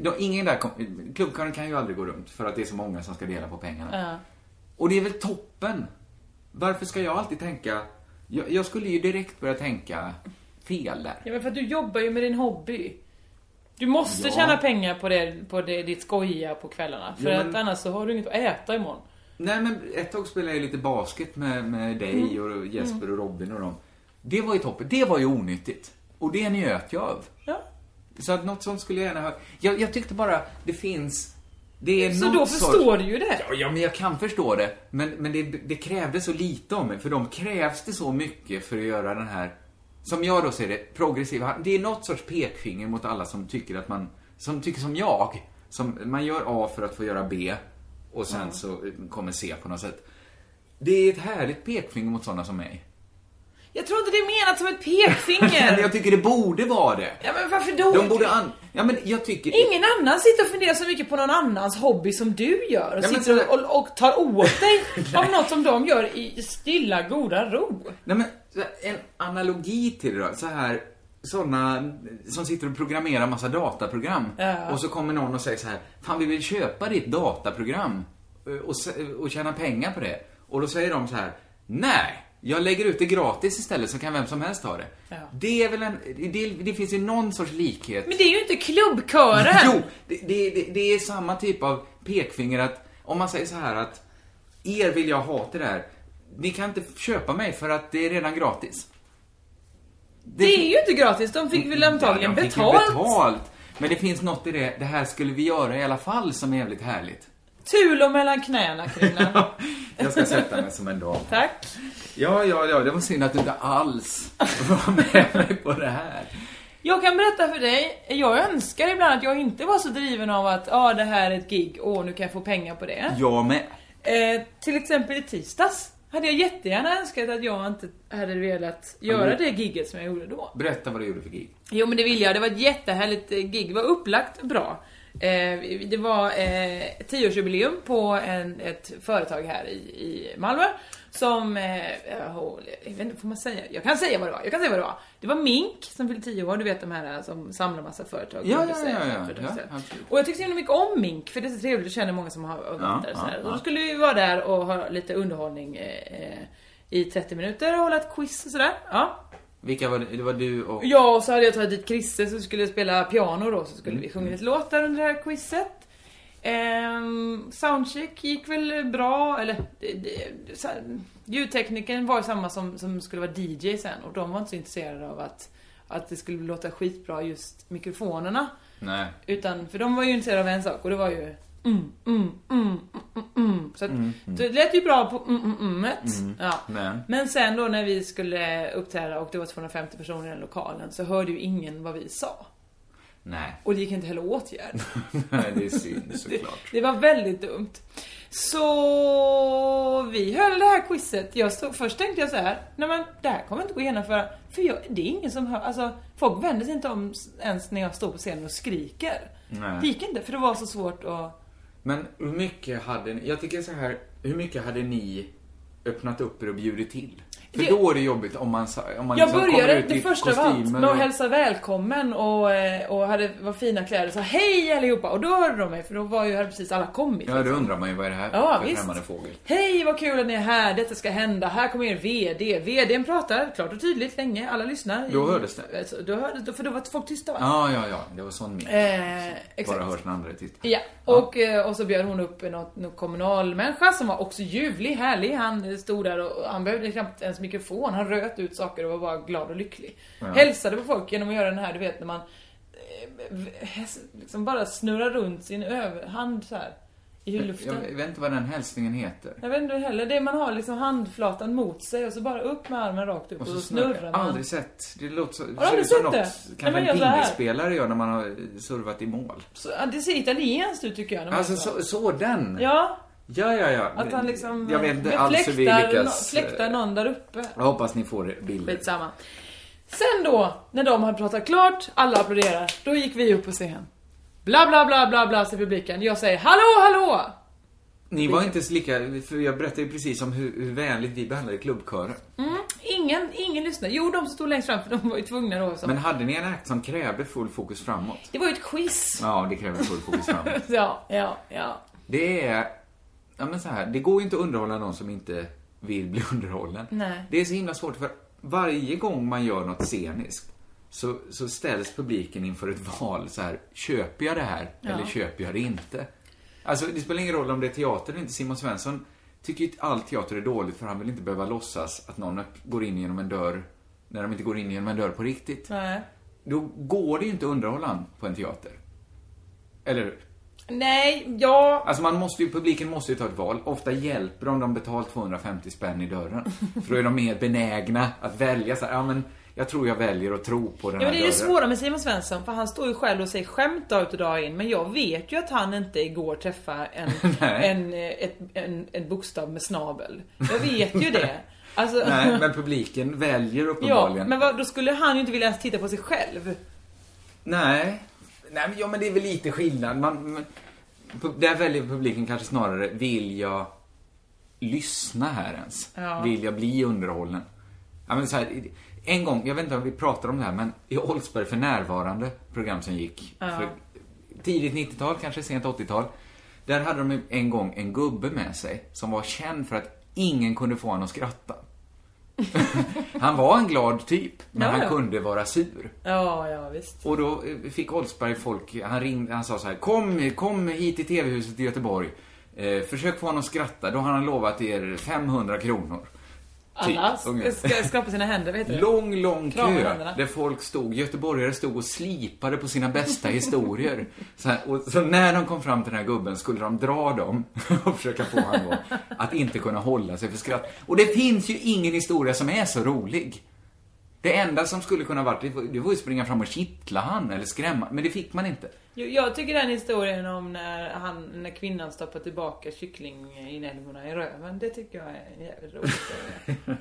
Speaker 5: De, ingen där, kom- klubbkören kan ju aldrig gå runt för att det är så många som ska dela på pengarna. Och det är väl toppen Varför ska jag alltid tänka... Jag, jag skulle ju direkt börja tänka fel där.
Speaker 6: Ja men för att du jobbar ju med din hobby. Du måste
Speaker 5: Ja.
Speaker 6: tjäna pengar på, det, på det, ditt skoja på kvällarna. För
Speaker 5: Jo, men-
Speaker 6: att annars så har du inget att äta imorgon.
Speaker 5: Nej, men ett tag spelade jag lite basket med, med
Speaker 6: Mm.
Speaker 5: dig och Jesper och Robin och dem. Det var ju toppen. Det var ju onyttigt. Och det njöt jag av.
Speaker 6: Ja.
Speaker 5: Så att något sånt skulle jag gärna ha. Jag, jag tyckte bara, det finns... Det är
Speaker 6: Så
Speaker 5: någon
Speaker 6: då
Speaker 5: sorts-
Speaker 6: förstår du ju det.
Speaker 5: Ja, ja, men jag kan förstå det. Men, men det, det krävdes så lite av mig, för de krävs det så mycket för att göra den här, som jag då ser det, progressiva. Det är något sorts pekfinger mot alla som tycker att man, som tycker som jag. Som, man gör A för att få göra B och sen så kommer C på något sätt. Det är ett härligt pekfinger mot sådana som mig.
Speaker 6: Jag tror inte det är menat som ett
Speaker 5: Men jag
Speaker 6: pekfinger.
Speaker 5: tycker det borde vara det.
Speaker 6: ja men varför då?
Speaker 5: De borde an... Ja, men jag tycker...
Speaker 6: Ingen annan sitter och funderar så mycket på någon annans hobby som du gör och
Speaker 5: Ja, men
Speaker 6: sitter
Speaker 5: så-
Speaker 6: och, och tar åt dig av något som de gör i stilla goda ro.
Speaker 5: Nej men, så här, en analogi till det då. Så här, sådana som sitter och programmerar massa dataprogram.
Speaker 6: Ja.
Speaker 5: Och så kommer någon och säger så här, fan vi vill köpa ditt dataprogram eh, och, se- och tjäna pengar på det. Och då säger de så här, nej, jag lägger ut det gratis istället så kan vem som helst ha det.
Speaker 6: Ja.
Speaker 5: Det är väl en, det, det finns ju någon sorts likhet.
Speaker 6: Men det är ju inte klubbkören!
Speaker 5: Jo, det, det, det, det är samma typ av pekfinger att om man säger så här att er vill jag ha till det här. Ni kan inte köpa mig för att det är redan gratis.
Speaker 6: Det är ju inte gratis, de fick väl antagligen
Speaker 5: Mm, Ja, de fick ju
Speaker 6: betalt.
Speaker 5: betalt. Men det finns något i det, det här skulle vi göra i alla fall som är jävligt härligt.
Speaker 6: Tulo mellan knäna Kringlan.
Speaker 5: Jag ska sätta mig som en dam.
Speaker 6: Tack.
Speaker 5: Ja, ja, ja, det var synd att du inte alls var med mig på det här.
Speaker 6: Jag kan berätta för dig, jag önskar ibland att jag inte var så driven av att ja ah, det här är ett gig, åh nu kan jag få pengar på det.
Speaker 5: Jag med.
Speaker 6: Eh, till exempel i tisdags hade jag jättegärna önskat att jag inte hade velat göra
Speaker 5: men-
Speaker 6: det gigget som jag gjorde då.
Speaker 5: Berätta vad du gjorde för gig.
Speaker 6: Jo men det vill jag, det var ett jättehärligt eh, gig, det var upplagt bra. Eh, det var eh, 10-årsjubileum på en, ett företag här i, i Malmö som, eh, jag vet inte, får man säga? Jag kan säga vad det var, jag kan säga vad det var. Det var Mink som fyllde 10 år, du vet de här som samlar massa företag.
Speaker 5: Ja,
Speaker 6: under
Speaker 5: ja,
Speaker 6: sig,
Speaker 5: ja, ja, ja,
Speaker 6: företagsstöd.
Speaker 5: absolut.
Speaker 6: och jag tyckte så himla mycket om Mink, för det är så trevligt, jag känner många som har varit
Speaker 5: Ja,
Speaker 6: där.
Speaker 5: ja,
Speaker 6: så här.
Speaker 5: ja.
Speaker 6: Och då skulle vi vara där och ha lite underhållning eh, eh, i 30 minuter och hålla ett quiz och sådär. Ja.
Speaker 5: Vilka var det? Det var du och...
Speaker 6: Ja, och så hade jag tagit dit Chrisse som skulle spela piano då, så skulle vi sjunga lite låtar under det här quizet. Ehm, soundcheck gick väl bra, eller det- det- så här, ljudteknikern var ju samma som, som skulle vara DJ sen och de var inte så intresserade av att, att det skulle låta skitbra just mikrofonerna.
Speaker 5: Nej.
Speaker 6: Utan, för de var ju intresserade av en sak och det var ju mm, mm, mm, mm, mm, mm. Så att, det lät ju bra på mm, mm, mm, ja.
Speaker 5: Men?
Speaker 6: Men sen då när vi skulle uppträda och det var 250 personer i den lokalen så hörde ju ingen vad vi sa.
Speaker 5: Nej.
Speaker 6: Och det gick inte heller att åtgärda.
Speaker 5: Nej, det är synd såklart.
Speaker 6: Det var väldigt dumt. Så vi höll det här quizet. Jag stod, först tänkte jag så här, nej men det här kommer inte gå att genomföra. För jag, det är ingen som hör, alltså folk vänder sig inte om s- ens när jag står på scenen och skriker.
Speaker 5: Nej.
Speaker 6: Det gick inte för det var så svårt att...
Speaker 5: Men hur mycket hade ni, jag tycker så här, hur mycket hade ni öppnat upp er och bjudit till? För
Speaker 6: Det-
Speaker 5: då är det jobbigt om man, sa- om man
Speaker 6: Jag
Speaker 5: liksom kommer
Speaker 6: började
Speaker 5: ut
Speaker 6: det
Speaker 5: i
Speaker 6: första av allt
Speaker 5: kostymer
Speaker 6: med att
Speaker 5: och-
Speaker 6: hälsa välkommen och, eh, och hade, var fina kläder och sa hej allihopa och då hörde de mig för då var ju, hade precis alla kommit.
Speaker 5: Ja, då undrar man ju vad är det här
Speaker 6: Ja,
Speaker 5: för
Speaker 6: visst.
Speaker 5: främmande fågel?
Speaker 6: Hej vad kul att ni är här, detta ska hända, här kommer er VD. VDn pratar klart och tydligt länge, alla lyssnar.
Speaker 5: Då hördes det.
Speaker 6: Alltså, Då hördes det, för då var folk tysta va?
Speaker 5: Ja, ja, ja, det var sån min.
Speaker 6: Eh, exakt.
Speaker 5: Bara hörs när andra är tysta.
Speaker 6: Ja, och, eh, och så bjöd hon upp något, någon kommunalmänniska som var också ljuvlig, härlig. Han eh, stod där och och han behövde knappt ens mikrofon. Han röt ut saker och var bara glad och lycklig. Hälsade på folk genom att göra den här, du vet när man eh, v- häs- liksom bara snurrar runt sin överhand så här i luften.
Speaker 5: Jag vet inte vad den hälsningen heter.
Speaker 6: Jag vet inte heller, det är man har liksom handflatan mot sig och så bara upp med armen rakt upp och så, snurrar man.
Speaker 5: Aldrig sett. Det låter så,
Speaker 6: du
Speaker 5: ser
Speaker 6: aldrig
Speaker 5: ut som
Speaker 6: sett
Speaker 5: något
Speaker 6: det? Nej,
Speaker 5: kanske
Speaker 6: men
Speaker 5: en
Speaker 6: gör så här.
Speaker 5: pingisspelare gör när man har servat i mål.
Speaker 6: Så, ja, det ser italienskt ut tycker jag. När man
Speaker 5: Alltså, så, så den.
Speaker 6: Ja,
Speaker 5: ja, ja. ja.
Speaker 6: att han liksom
Speaker 5: Jag vet inte
Speaker 6: eh,
Speaker 5: alls hur vi
Speaker 6: fläktar
Speaker 5: lyckas. eh,
Speaker 6: nå- fläktar någon där uppe.
Speaker 5: Jag hoppas ni får bilder.
Speaker 6: Skitsamma. Sen då, när de hade pratat klart, alla applåderar, då gick vi upp på scen. Bla bla bla bla bla säger publiken. Jag säger hallå hallå!
Speaker 5: Ni var inte så lika, för jag berättade ju precis om hur, hur vänligt vi behandlade klubbkören.
Speaker 6: Ingen, ingen lyssnade. Jo, de som stod längst fram för de var ju tvungna då. Så.
Speaker 5: Men hade ni en akt som krävde full fokus framåt?
Speaker 6: Det var ju ett quiz.
Speaker 5: Ja, det kräver full fokus framåt.
Speaker 6: Ja, ja, ja.
Speaker 5: Det är, ja men så här, det går ju inte att underhålla någon som inte vill bli underhållen.
Speaker 6: Nej.
Speaker 5: Det är så himla svårt för varje gång man gör något sceniskt så, så ställs publiken inför ett val så här, köper jag det här eller köper jag det inte? Alltså det spelar ingen roll om det är teater eller inte. Simon Svensson tycker ju att all teater är dåligt för han vill inte behöva låtsas att någon öpp- går in genom en dörr när de inte går in genom en dörr på riktigt.
Speaker 6: Nej.
Speaker 5: Då går det ju inte att underhålla han på en teater. Eller hur?
Speaker 6: Nej, ja.
Speaker 5: Alltså man måste ju, publiken måste ju ta ett val. Ofta hjälper de om de betalt 250 spänn i dörren. För då är de mer benägna att välja så här, ja men jag tror jag väljer att tro på den
Speaker 6: Ja,
Speaker 5: här
Speaker 6: men det är det
Speaker 5: dörren.
Speaker 6: svåra med Simon Svensson för han står ju själv och säger skämt dag ut och dag in men jag vet ju att han inte igår träffade en,
Speaker 5: Nej.
Speaker 6: en, eh, ett, en, en bokstav med snabel. Jag vet ju det. Alltså,
Speaker 5: Nej, men publiken väljer
Speaker 6: ja,
Speaker 5: uppenbarligen.
Speaker 6: men vad, då skulle han ju inte vilja ens titta på sig själv.
Speaker 5: Nej. Nej, men, ja, men det är väl lite skillnad. Man, men, pu- där väljer publiken kanske snarare, vill jag lyssna här ens?
Speaker 6: Ja.
Speaker 5: Vill jag bli underhållen? Ja, men så här, en gång, jag vet inte om vi pratar om det här, men i Oldsberg för närvarande, program som gick för tidigt 90-tal, kanske sent 80-tal. Där hade de en gång en gubbe med sig som var känd för att ingen kunde få honom att skratta. han var en glad typ, men
Speaker 6: Ja,
Speaker 5: han
Speaker 6: ja.
Speaker 5: kunde vara sur.
Speaker 6: Ja, ja visst.
Speaker 5: Och då eh, fick Oldsberg folk, han ringde, han sa så här, kom, kom hit till TV-huset i Göteborg. Eh, försök få honom att skratta, då har han lovat er 500 kronor. Typ,
Speaker 6: Alla
Speaker 5: ungefär.
Speaker 6: ska skrapa sina händer, vet du.
Speaker 5: Lång, lång
Speaker 6: Krama
Speaker 5: kö
Speaker 6: händerna.
Speaker 5: där folk stod, göteborgare stod och slipade på sina bästa historier. Så, här, och, så när de kom fram till den här gubben skulle de dra dem och försöka få honom då att inte kunna hålla sig för skratt. Och det finns ju ingen historia som är så rolig. Det enda som skulle kunna varit, det var- det var ju springa fram och kittla han eller skrämma, men det fick man inte.
Speaker 6: Jo, Jag tycker den historien om när, han, när kvinnan stoppar tillbaka kycklinginälvorna i röven, det tycker jag är en jävligt rolig historia.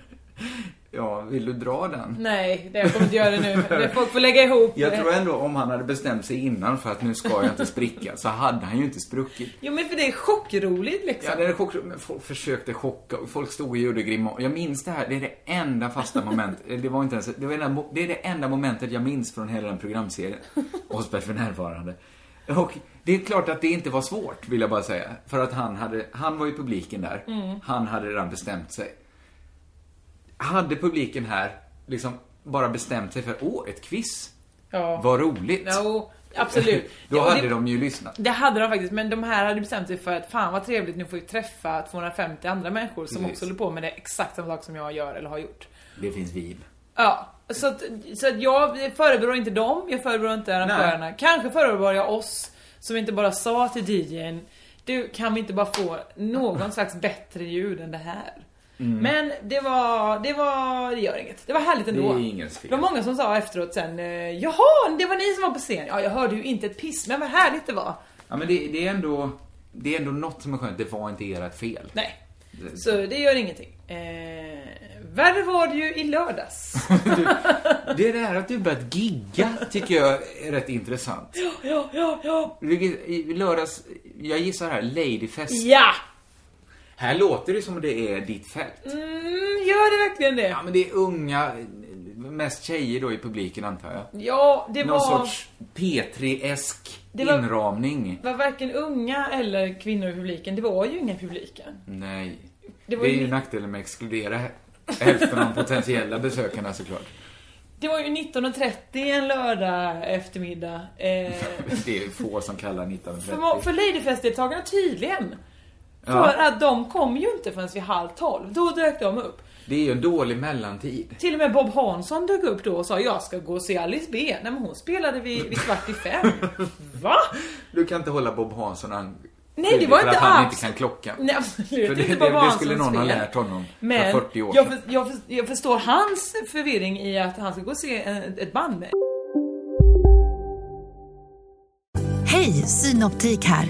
Speaker 5: Ja, vill du dra den?
Speaker 6: Nej, det jag kommer inte göra det nu. Det folk får lägga ihop.
Speaker 5: Jag tror ändå om han hade bestämt sig innan för att nu ska jag inte spricka, så hade han ju inte spruckit.
Speaker 6: Jo men för det är chockroligt liksom.
Speaker 5: Ja, det är chock... men folk försökte chocka och folk stod och gjorde grimaser. Jag minns det här, det är det enda fasta momentet, eller det var inte ens, det, var det, enda, det är det enda momentet jag minns från hela den programserien, Osberg för närvarande. Och det är klart att det inte var svårt, vill jag bara säga. För att han hade, han var ju publiken där,
Speaker 6: Mm.
Speaker 5: han hade redan bestämt sig. Hade publiken här liksom bara bestämt sig för, åh, ett quiz,
Speaker 6: Ja.
Speaker 5: vad roligt.
Speaker 6: Jo, absolut.
Speaker 5: Då
Speaker 6: Ja, och
Speaker 5: hade
Speaker 6: det,
Speaker 5: de ju lyssnat.
Speaker 6: det hade de faktiskt, men de här hade bestämt sig för att fan vad trevligt, nu får vi träffa 250 andra människor som
Speaker 5: Precis.
Speaker 6: också håller på med det exakt samma sak som jag gör eller har gjort.
Speaker 5: Det finns vib.
Speaker 6: Ja, så att, så att jag förebrår inte dem, jag förebrår inte arrangörerna. Kanske förebrår jag oss som inte bara sa till DJn Du, kan vi inte bara få någon slags bättre ljud än det här?
Speaker 5: Mm.
Speaker 6: Men det var, det var, det gör inget. Det var härligt ändå.
Speaker 5: Det är ingens fel.
Speaker 6: Det var många som sa efteråt sen, eh, jaha, det var ni som var på scen. Ja, jag hörde ju inte ett piss, men vad härligt det var.
Speaker 5: Ja, men det, det är ändå... Det är ändå något som är skönt. Det var inte ert fel.
Speaker 6: Nej.
Speaker 5: Det-
Speaker 6: Så det gör ingenting. Eh, värre var det ju i lördags.
Speaker 5: Det är det här att du börjat gigga tycker jag är rätt intressant.
Speaker 6: ja, ja, ja.
Speaker 5: Vilket- I lördags, jag gissar här, Ladyfest.
Speaker 6: Ja!
Speaker 5: Här låter det som det är ditt fält.
Speaker 6: Mm, gör det verkligen det?
Speaker 5: Ja, men det är unga, mest tjejer då i publiken antar jag.
Speaker 6: Ja, det
Speaker 5: Någon
Speaker 6: var,
Speaker 5: sorts P3-esk
Speaker 6: Det var-
Speaker 5: inramning.
Speaker 6: var varken unga eller kvinnor i publiken. Det var ju inga i publiken.
Speaker 5: Nej.
Speaker 6: Det
Speaker 5: Det,
Speaker 6: var
Speaker 5: är
Speaker 6: ju-
Speaker 5: ju nackdelen med att exkludera hälften av potentiella besökarna såklart.
Speaker 6: Det var ju 19.30 en lördag eftermiddag. Eh,
Speaker 5: Det är få som kallar 1930.
Speaker 6: för för Ladyfest-deltagarna tydligen. För att de kom ju inte förrän vid halv tolv. Då dök de upp.
Speaker 5: Det är ju en dålig mellantid.
Speaker 6: Till och med Bob Hansson dök upp då och sa jag ska gå och se Alice B. Nej men hon spelade vid, vid kvart i fem. Va?
Speaker 5: Du kan inte hålla Bob Hansson an-
Speaker 6: Nej det var
Speaker 5: för
Speaker 6: inte
Speaker 5: att han
Speaker 6: abs-
Speaker 5: inte kan klockan.
Speaker 6: Nej absolut
Speaker 5: För det-
Speaker 6: inte Bob
Speaker 5: det- det
Speaker 6: Hanssons
Speaker 5: skulle någon ha
Speaker 6: fel.
Speaker 5: lärt honom för
Speaker 6: Men
Speaker 5: 40 år
Speaker 6: jag,
Speaker 5: sedan.
Speaker 6: för, jag, för, jag förstår hans förvirring i att han ska gå och se en- ett band med
Speaker 7: Hej, Synoptik här.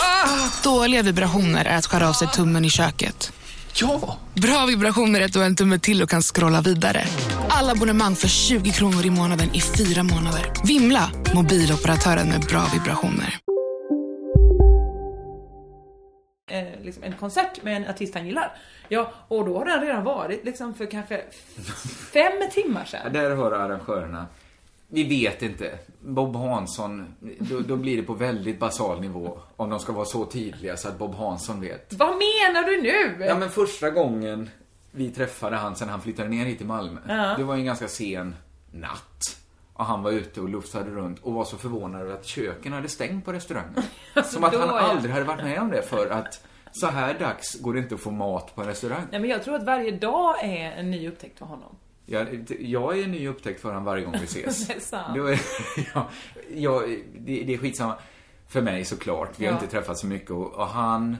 Speaker 8: Ah, Dåliga vibrationer är att skära av sig tummen i köket. Ja! Bra vibrationer är ett och en tumme till och kan scrolla vidare. Alla abonnemang för 20 kronor i månaden i fyra månader. Vimla! Mobiloperatören med bra vibrationer.
Speaker 6: eh, liksom en konsert med en artist han gillar. Ja, och då har den redan varit liksom för kanske f- fem timmar
Speaker 5: Ja,
Speaker 6: sedan.
Speaker 5: där har arrangörerna. Vi vet inte. Bob Hansson, då, då blir det på väldigt basal nivå. Om de ska vara så tydliga så att Bob Hansson vet.
Speaker 6: Vad menar du nu?
Speaker 5: Ja, men första gången vi träffade han sen han flyttade ner hit till Malmö.
Speaker 6: Ja.
Speaker 5: Det var ju en ganska sen natt. Och han var ute och luftade runt och var så förvånad över att köken hade stängt på restaurangen. Som att
Speaker 6: då,
Speaker 5: han
Speaker 6: ja.
Speaker 5: aldrig hade varit med om det för att så här dags går det inte att få mat på en restaurang.
Speaker 6: Nej men jag tror att varje dag är en ny upptäckt för honom.
Speaker 5: Jag, jag är en ny upptäckt för honom varje gång vi ses.
Speaker 6: Det är sant.
Speaker 5: Då är, ja, ja, det, det är skitsamma. För mig såklart. Vi har
Speaker 6: Ja.
Speaker 5: inte träffats så mycket och, och han...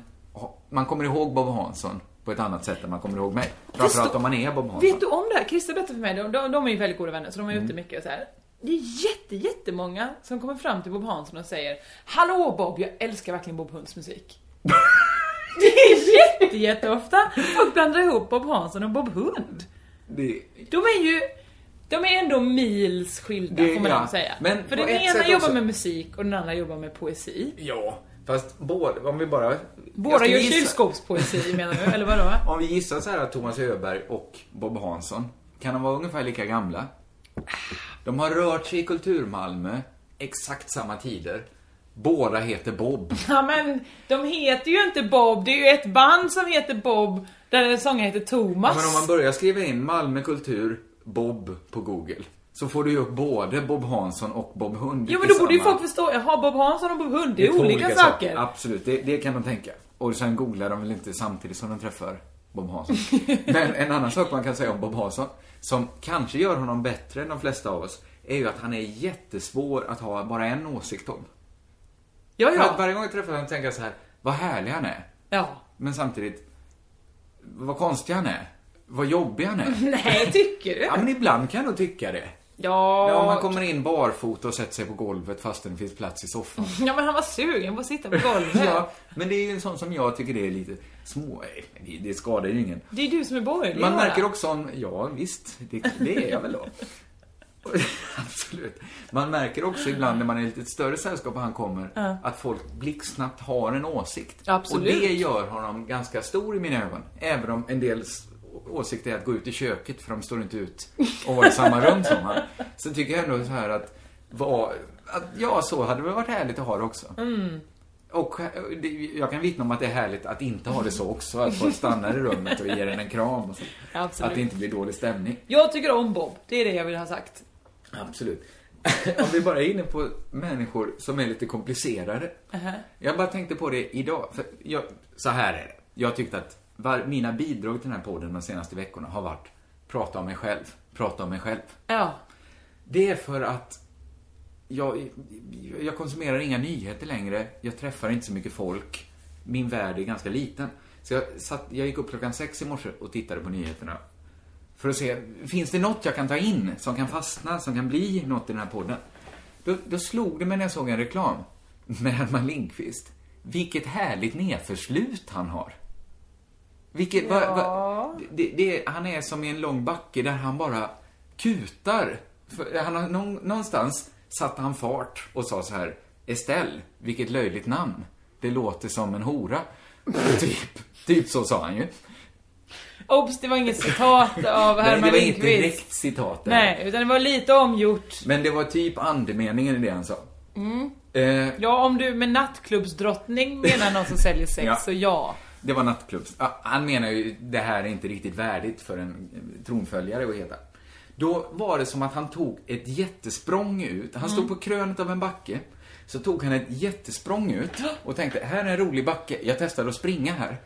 Speaker 5: Man kommer ihåg Bob Hansson på ett annat sätt än man kommer ihåg mig. Framförallt om man är Bob Hansson.
Speaker 6: Vet du om det här? Christer berättade för mig, de, de, de är ju väldigt goda vänner så de är
Speaker 5: Mm.
Speaker 6: ute mycket och så här. Det är jätte, jättemånga som kommer fram till Bob Hansson och säger Hallå Bob, jag älskar verkligen Bob Hunds musik. Det är jätte, jätteofta folk blandar ihop Bob Hansson och Bob Hund.
Speaker 5: Det,
Speaker 6: De är ju de är ändå mils skilda
Speaker 5: Det-
Speaker 6: får man
Speaker 5: ja.
Speaker 6: ändå säga.
Speaker 5: Men
Speaker 6: För
Speaker 5: på
Speaker 6: den
Speaker 5: ett
Speaker 6: ena
Speaker 5: sätt
Speaker 6: jobbar
Speaker 5: också-
Speaker 6: med musik och den andra jobbar med poesi.
Speaker 5: ja, fast båda... Om vi bara... jag
Speaker 6: Båda
Speaker 5: ska
Speaker 6: gör
Speaker 5: gissa.
Speaker 6: kylskåpspoesi menar du, eller vadå?
Speaker 5: Om vi gissar så här att Thomas Öberg och Bob Hansson, kan de vara ungefär lika gamla? De har rört sig i kultur-Malmö exakt samma tider. Båda heter Bob.
Speaker 6: Ja men de heter ju inte Bob, det är ju ett band som heter Bob där en sångare heter Thomas.
Speaker 5: Men om man börjar skriva in Malmö kultur, Bob på Google, så får du ju upp både Bob Hansson och Bob Hund.
Speaker 6: Jo men
Speaker 5: i
Speaker 6: då borde ju
Speaker 5: samma-
Speaker 6: folk förstå, jaha Bob Hansson och Bob Hund, det
Speaker 5: Det
Speaker 6: är,
Speaker 5: är två
Speaker 6: olika, saker.
Speaker 5: Absolut, det, det kan de tänka. Och sen googlar de väl inte samtidigt som de träffar Bob Hansson. Men en annan sak man kan säga om Bob Hansson, som kanske gör honom bättre än de flesta av oss, är ju att han är jättesvår att ha bara en åsikt om.
Speaker 6: Ja
Speaker 5: För att
Speaker 6: ja.
Speaker 5: varje gång jag träffar honom tänker jag så här, vad härlig han är.
Speaker 6: ja.
Speaker 5: Men samtidigt, vad konstig han är. Vad jobbig han är.
Speaker 6: Nej tycker du?
Speaker 5: Ja, men ibland kan jag nog tycka det.
Speaker 6: Ja.
Speaker 5: Ja, om man kommer in barfota och sätter sig på golvet fastän det finns plats i soffan.
Speaker 6: ja men han var sugen på att sitta på golvet.
Speaker 5: Ja, men det är ju en sån som jag tycker det är lite små... det- Det skadar ju ingen.
Speaker 6: Det är du som är borgerlig
Speaker 5: Man
Speaker 6: Göran.
Speaker 5: märker också om... Ja, visst. Det, det är jag väl då. Absolut. Man märker också ibland när man är i lite större sällskap och han kommer att folk blixtsnabbt har en åsikt.
Speaker 6: Absolut.
Speaker 5: Och det gör honom ganska stor i mina ögon. Även om en del s- åsikt är att gå ut i köket för de står inte ut och vara i samma rum som han. Så tycker jag ändå så här att, vad- att ja, så hade det väl varit härligt att ha det också. Och eh, det- jag kan vittna om att det är härligt att inte ha det så också. Att folk stannar i rummet och ger en en kram och så.
Speaker 6: Absolut.
Speaker 5: Att det inte blir dålig stämning.
Speaker 6: Jag tycker om Bob, det är det jag vill ha sagt.
Speaker 5: Absolut. Om vi bara är inne på människor som är lite komplicerade. Jag bara tänkte på det idag. För jag, så här är det. Jag tyckte att var, mina bidrag till den här podden de senaste veckorna har varit prata om mig själv, prata om mig själv.
Speaker 6: Ja.
Speaker 5: Det är för att jag, jag konsumerar inga nyheter längre. Jag träffar inte så mycket folk. Min värld är ganska liten. Så jag, satt, jag gick upp klockan sex i morse och tittade på nyheterna. För att se, finns det något jag kan ta in som kan fastna, som kan bli något i den här podden? Då, då slog det mig när jag såg en reklam med Herman Lindqvist. Vilket härligt nedförslut han har. Vilket, va, va, det, det, han är som i en lång backe där han bara kutar. För han har, någon, någonstans satte han fart och sa så här, Estelle, vilket löjligt namn. Det låter som en hora. typ, typ så sa han ju.
Speaker 6: Obs, det var inget citat
Speaker 5: Nej,
Speaker 6: av
Speaker 5: det
Speaker 6: Herman
Speaker 5: var inte
Speaker 6: Lindqvist.
Speaker 5: direkt citat. där.
Speaker 6: Nej, utan det var lite omgjort.
Speaker 5: Men det var typ andemeningen i det han sa.
Speaker 6: Mm.
Speaker 5: Eh,
Speaker 6: Ja, om du med nattklubbsdrottning menar någon som säljer sex,
Speaker 5: Ja.
Speaker 6: så ja.
Speaker 5: Det var nattklubbs... Ah, Han menar ju det här är inte riktigt värdigt för en eh, tronföljare att heta. Då var det som att han tog ett jättesprång ut. Han stod på krönet av en backe. Så tog han ett jättesprång ut och tänkte, här är en rolig backe, jag testar att springa här.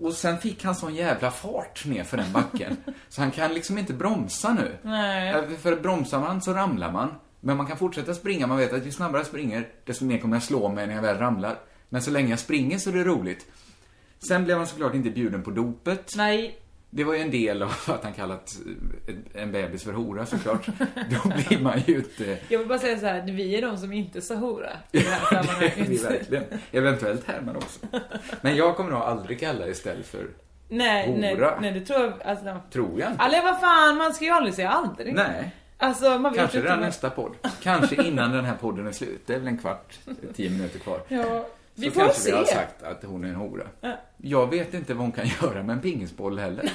Speaker 5: Och sen fick han sån jävla fart ner för den backen. så han kan liksom inte bromsa nu.
Speaker 6: Nej.
Speaker 5: Eh, För bromsar man så ramlar man. Men man kan fortsätta springa, man vet att ju snabbare jag springer, desto mer kommer jag slå mig när jag väl ramlar. Men så länge jag springer så är det roligt. Sen blev han såklart inte bjuden på dopet.
Speaker 6: Nej.
Speaker 5: Det var ju en del av att han kallat eh, en bebis för hora såklart. Då blir man ju inte...
Speaker 6: Jag vill bara säga så här, vi är de som inte sa hora i det här
Speaker 5: Det blir
Speaker 6: sammanhanget.
Speaker 5: verkligen. Eventuellt Herman också. Men jag kommer nog aldrig kalla Estelle för
Speaker 6: Nej, nej,
Speaker 5: Hora.
Speaker 6: nej, det tror jag, alltså,
Speaker 5: Tror jag inte.
Speaker 6: Eller vad fan, man ska ju aldrig säga aldrig.
Speaker 5: Nej.
Speaker 6: Alltså, man vet
Speaker 5: Kanske
Speaker 6: inte
Speaker 5: redan
Speaker 6: vad-
Speaker 5: nästa podd. Kanske innan den här podden är slut. Det är väl en kvart, tio minuter kvar.
Speaker 6: Ja, vi
Speaker 5: så
Speaker 6: får
Speaker 5: kanske
Speaker 6: se.
Speaker 5: vi har sagt att hon är en hora.
Speaker 6: Ja.
Speaker 5: Jag vet inte vad hon kan göra med en pingisboll heller.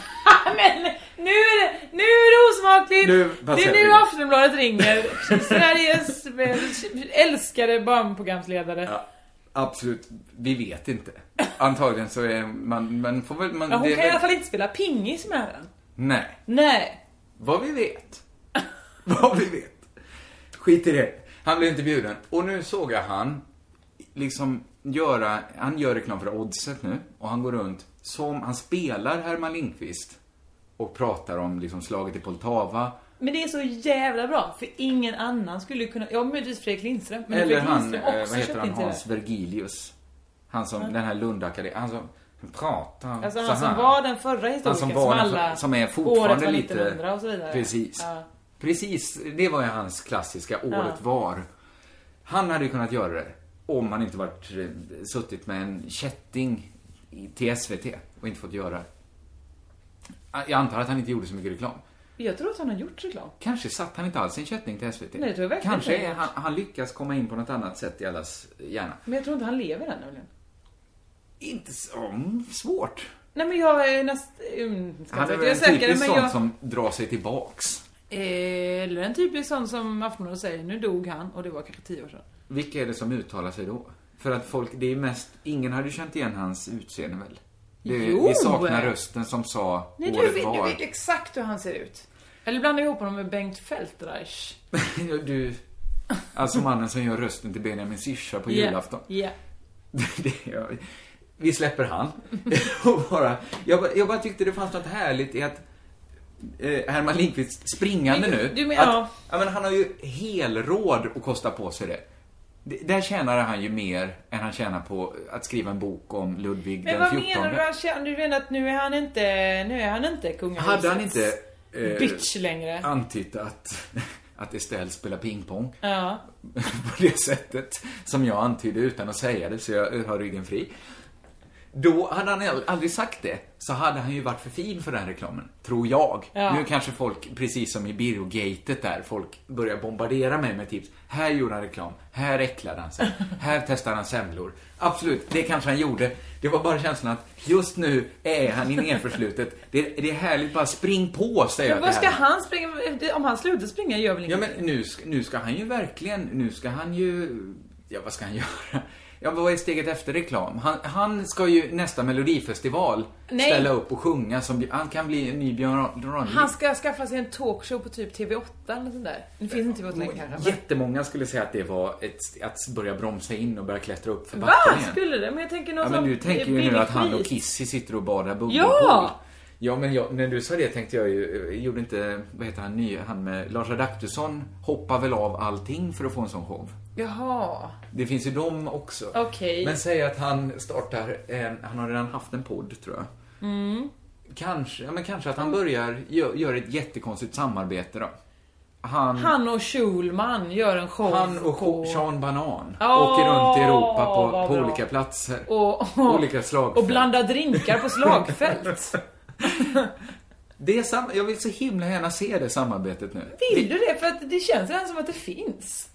Speaker 6: Men nu är det, nu är det osmakligt!
Speaker 5: Nu
Speaker 6: det
Speaker 5: passerar
Speaker 6: är nu
Speaker 5: vi.
Speaker 6: Aftonbladet ringer. Sveriges eh, älskade barnprogramsledare.
Speaker 5: Ja, absolut, vi vet inte. Antagligen så är man, man får väl... Man,
Speaker 6: Ja, hon
Speaker 5: det är
Speaker 6: kan i
Speaker 5: väl-
Speaker 6: alla fall inte spela pingis med den.
Speaker 5: Nej,
Speaker 6: Nej.
Speaker 5: vad vi vet. vad vi vet. Skit i det. Han blev inte bjuden. Och nu såg jag han liksom göra, han gör reklam för Oddset nu och han går runt som, han spelar Herman Lindqvist och pratar om liksom slaget i Poltava
Speaker 6: Men det är så jävla bra, för ingen annan skulle ju kunna... Ja, möjligtvis Fredrik Lindström. Men
Speaker 5: Eller
Speaker 6: Fredrik
Speaker 5: han,
Speaker 6: Lindström
Speaker 5: eh,
Speaker 6: också
Speaker 5: vad heter
Speaker 6: köpte
Speaker 5: han,
Speaker 6: inte det.
Speaker 5: Hans Vergilius. Han som, den här Lundakademin, han som han pratar
Speaker 6: Alltså
Speaker 5: så
Speaker 6: han som
Speaker 5: här.
Speaker 6: var den förra historikern
Speaker 5: Han som var den för-
Speaker 6: alla...
Speaker 5: som är
Speaker 6: året
Speaker 5: fortfarande
Speaker 6: var
Speaker 5: lite-
Speaker 6: 1900 och så vidare.
Speaker 5: Precis.
Speaker 6: Ja.
Speaker 5: Precis, det var ju hans klassiska året var. Han hade ju kunnat göra det om han inte varit, eh, suttit med en kätting i- till SVT och inte fått göra det. Jag antar att han inte gjorde så mycket reklam.
Speaker 6: Jag tror att han har gjort reklam.
Speaker 5: Kanske satt han inte alls i en kätting till SVT.
Speaker 6: Nej, det tror jag verkligen
Speaker 5: Kanske
Speaker 6: inte.
Speaker 5: är han, han lyckas komma in på något annat sätt i allas hjärna.
Speaker 6: Men jag tror inte han lever än nämligen.
Speaker 5: Inte så svårt.
Speaker 6: Nej men jag är näst... Um, ska
Speaker 5: Han är
Speaker 6: inte
Speaker 5: väl
Speaker 6: säga
Speaker 5: en
Speaker 6: att jag är säker,
Speaker 5: typisk
Speaker 6: men
Speaker 5: sån
Speaker 6: jag...
Speaker 5: som drar sig tillbaks.
Speaker 6: Eh, Eller en typisk sån som Aftonbladet säger, nu dog han och det var kanske tio år sedan.
Speaker 5: Vilka är det som uttalar sig då? För att folk, det är mest, ingen hade ju känt igen hans utseende väl? Det,
Speaker 6: Jo!
Speaker 5: Vi saknar rösten som sa
Speaker 6: Nej, du,
Speaker 5: året
Speaker 6: vet, du
Speaker 5: var.
Speaker 6: vet exakt hur han ser ut. Eller blanda ihop honom med Bengt Feldreich.
Speaker 5: Du, alltså mannen som gör rösten till Benjamin Syrsa på
Speaker 6: Ja,
Speaker 5: julafton.
Speaker 6: Ja.
Speaker 5: Det gör vi. vi släpper han. och bara, jag, bara, jag bara tyckte det fanns något härligt i att eh, Herman Lindqvist springande
Speaker 6: Men du-
Speaker 5: nu.
Speaker 6: du men-
Speaker 5: att,
Speaker 6: ja.
Speaker 5: men han har ju helråd att kosta på sig det. D- Där tjänar han ju mer än han tjänar på att skriva en bok om Ludvig
Speaker 6: Men
Speaker 5: den
Speaker 6: vad
Speaker 5: 14.
Speaker 6: menar du? Han känner- Du menar att nu är han inte, nu är han inte kungahusets
Speaker 5: Hade han inte eh,
Speaker 6: bitch längre?
Speaker 5: antytt att, att Estelle spelar pingpong
Speaker 6: Ja.
Speaker 5: på det sättet som jag antydde utan att säga det så jag har ryggen fri. Då hade han ald- aldrig sagt det, så hade han ju varit för fin för den reklamen. Tror jag.
Speaker 6: Ja.
Speaker 5: Nu kanske folk, precis som i Birrogatet där, folk börjar bombardera mig med tips. Här gjorde han reklam, här äcklade han sig, här testade han semlor. Absolut, det kanske han gjorde. Det var bara känslan att just nu är han i nedförslutet. Det, det är härligt, bara spring på, säger jag
Speaker 6: Men vad
Speaker 5: till
Speaker 6: ska
Speaker 5: herrarna.
Speaker 6: han springa, om han slutar springa gör väl
Speaker 5: Ja
Speaker 6: inget?
Speaker 5: men nu, ska- nu ska han ju verkligen, nu ska han ju, ja vad ska han göra? Ja vad är steget efter reklam? Han, han ska ju nästa melodifestival
Speaker 6: Nej.
Speaker 5: ställa upp och sjunga som, han kan bli en ny Björn Ranelid.
Speaker 6: Han ska skaffa sig en talkshow på typ TV8 eller sånt där. Det finns inte TV8 längre kanske. men-
Speaker 5: Jättemånga skulle säga att det var ett, att börja bromsa in och börja klättra upp för
Speaker 6: Va?
Speaker 5: backen igen.
Speaker 6: Skulle det? Men jag tänker någon
Speaker 5: Ja men
Speaker 6: sån
Speaker 5: du tänker ju
Speaker 6: billig
Speaker 5: nu att han och
Speaker 6: skit.
Speaker 5: Kissy sitter och badar bubblor
Speaker 6: Ja!
Speaker 5: Ja men jag, när du sa det tänkte jag ju, eh, gjorde inte, vad heter han, ny, han med Lars Adaktusson hoppar väl av allting för att få en sån show?
Speaker 6: Jaha.
Speaker 5: Det finns ju dem också.
Speaker 6: Okej.
Speaker 5: Men säg att han startar, eh, han har redan haft en podd tror jag.
Speaker 6: Mm.
Speaker 5: Kanske, ja, men kanske att han börjar, gö- gör ett jättekonstigt samarbete då. Han, han,
Speaker 6: Han och Schulman gör en show.
Speaker 5: och
Speaker 6: på-
Speaker 5: Sean Banan
Speaker 6: Åh,
Speaker 5: åker runt i Europa
Speaker 6: vad
Speaker 5: på, på
Speaker 6: bra.
Speaker 5: olika platser.
Speaker 6: och,
Speaker 5: olika slagfält.
Speaker 6: Och blandar drinkar på slagfält.
Speaker 5: Det är sam- jag vill så himla gärna se det samarbetet nu.
Speaker 6: Vill du det? För att det känns redan som att det finns.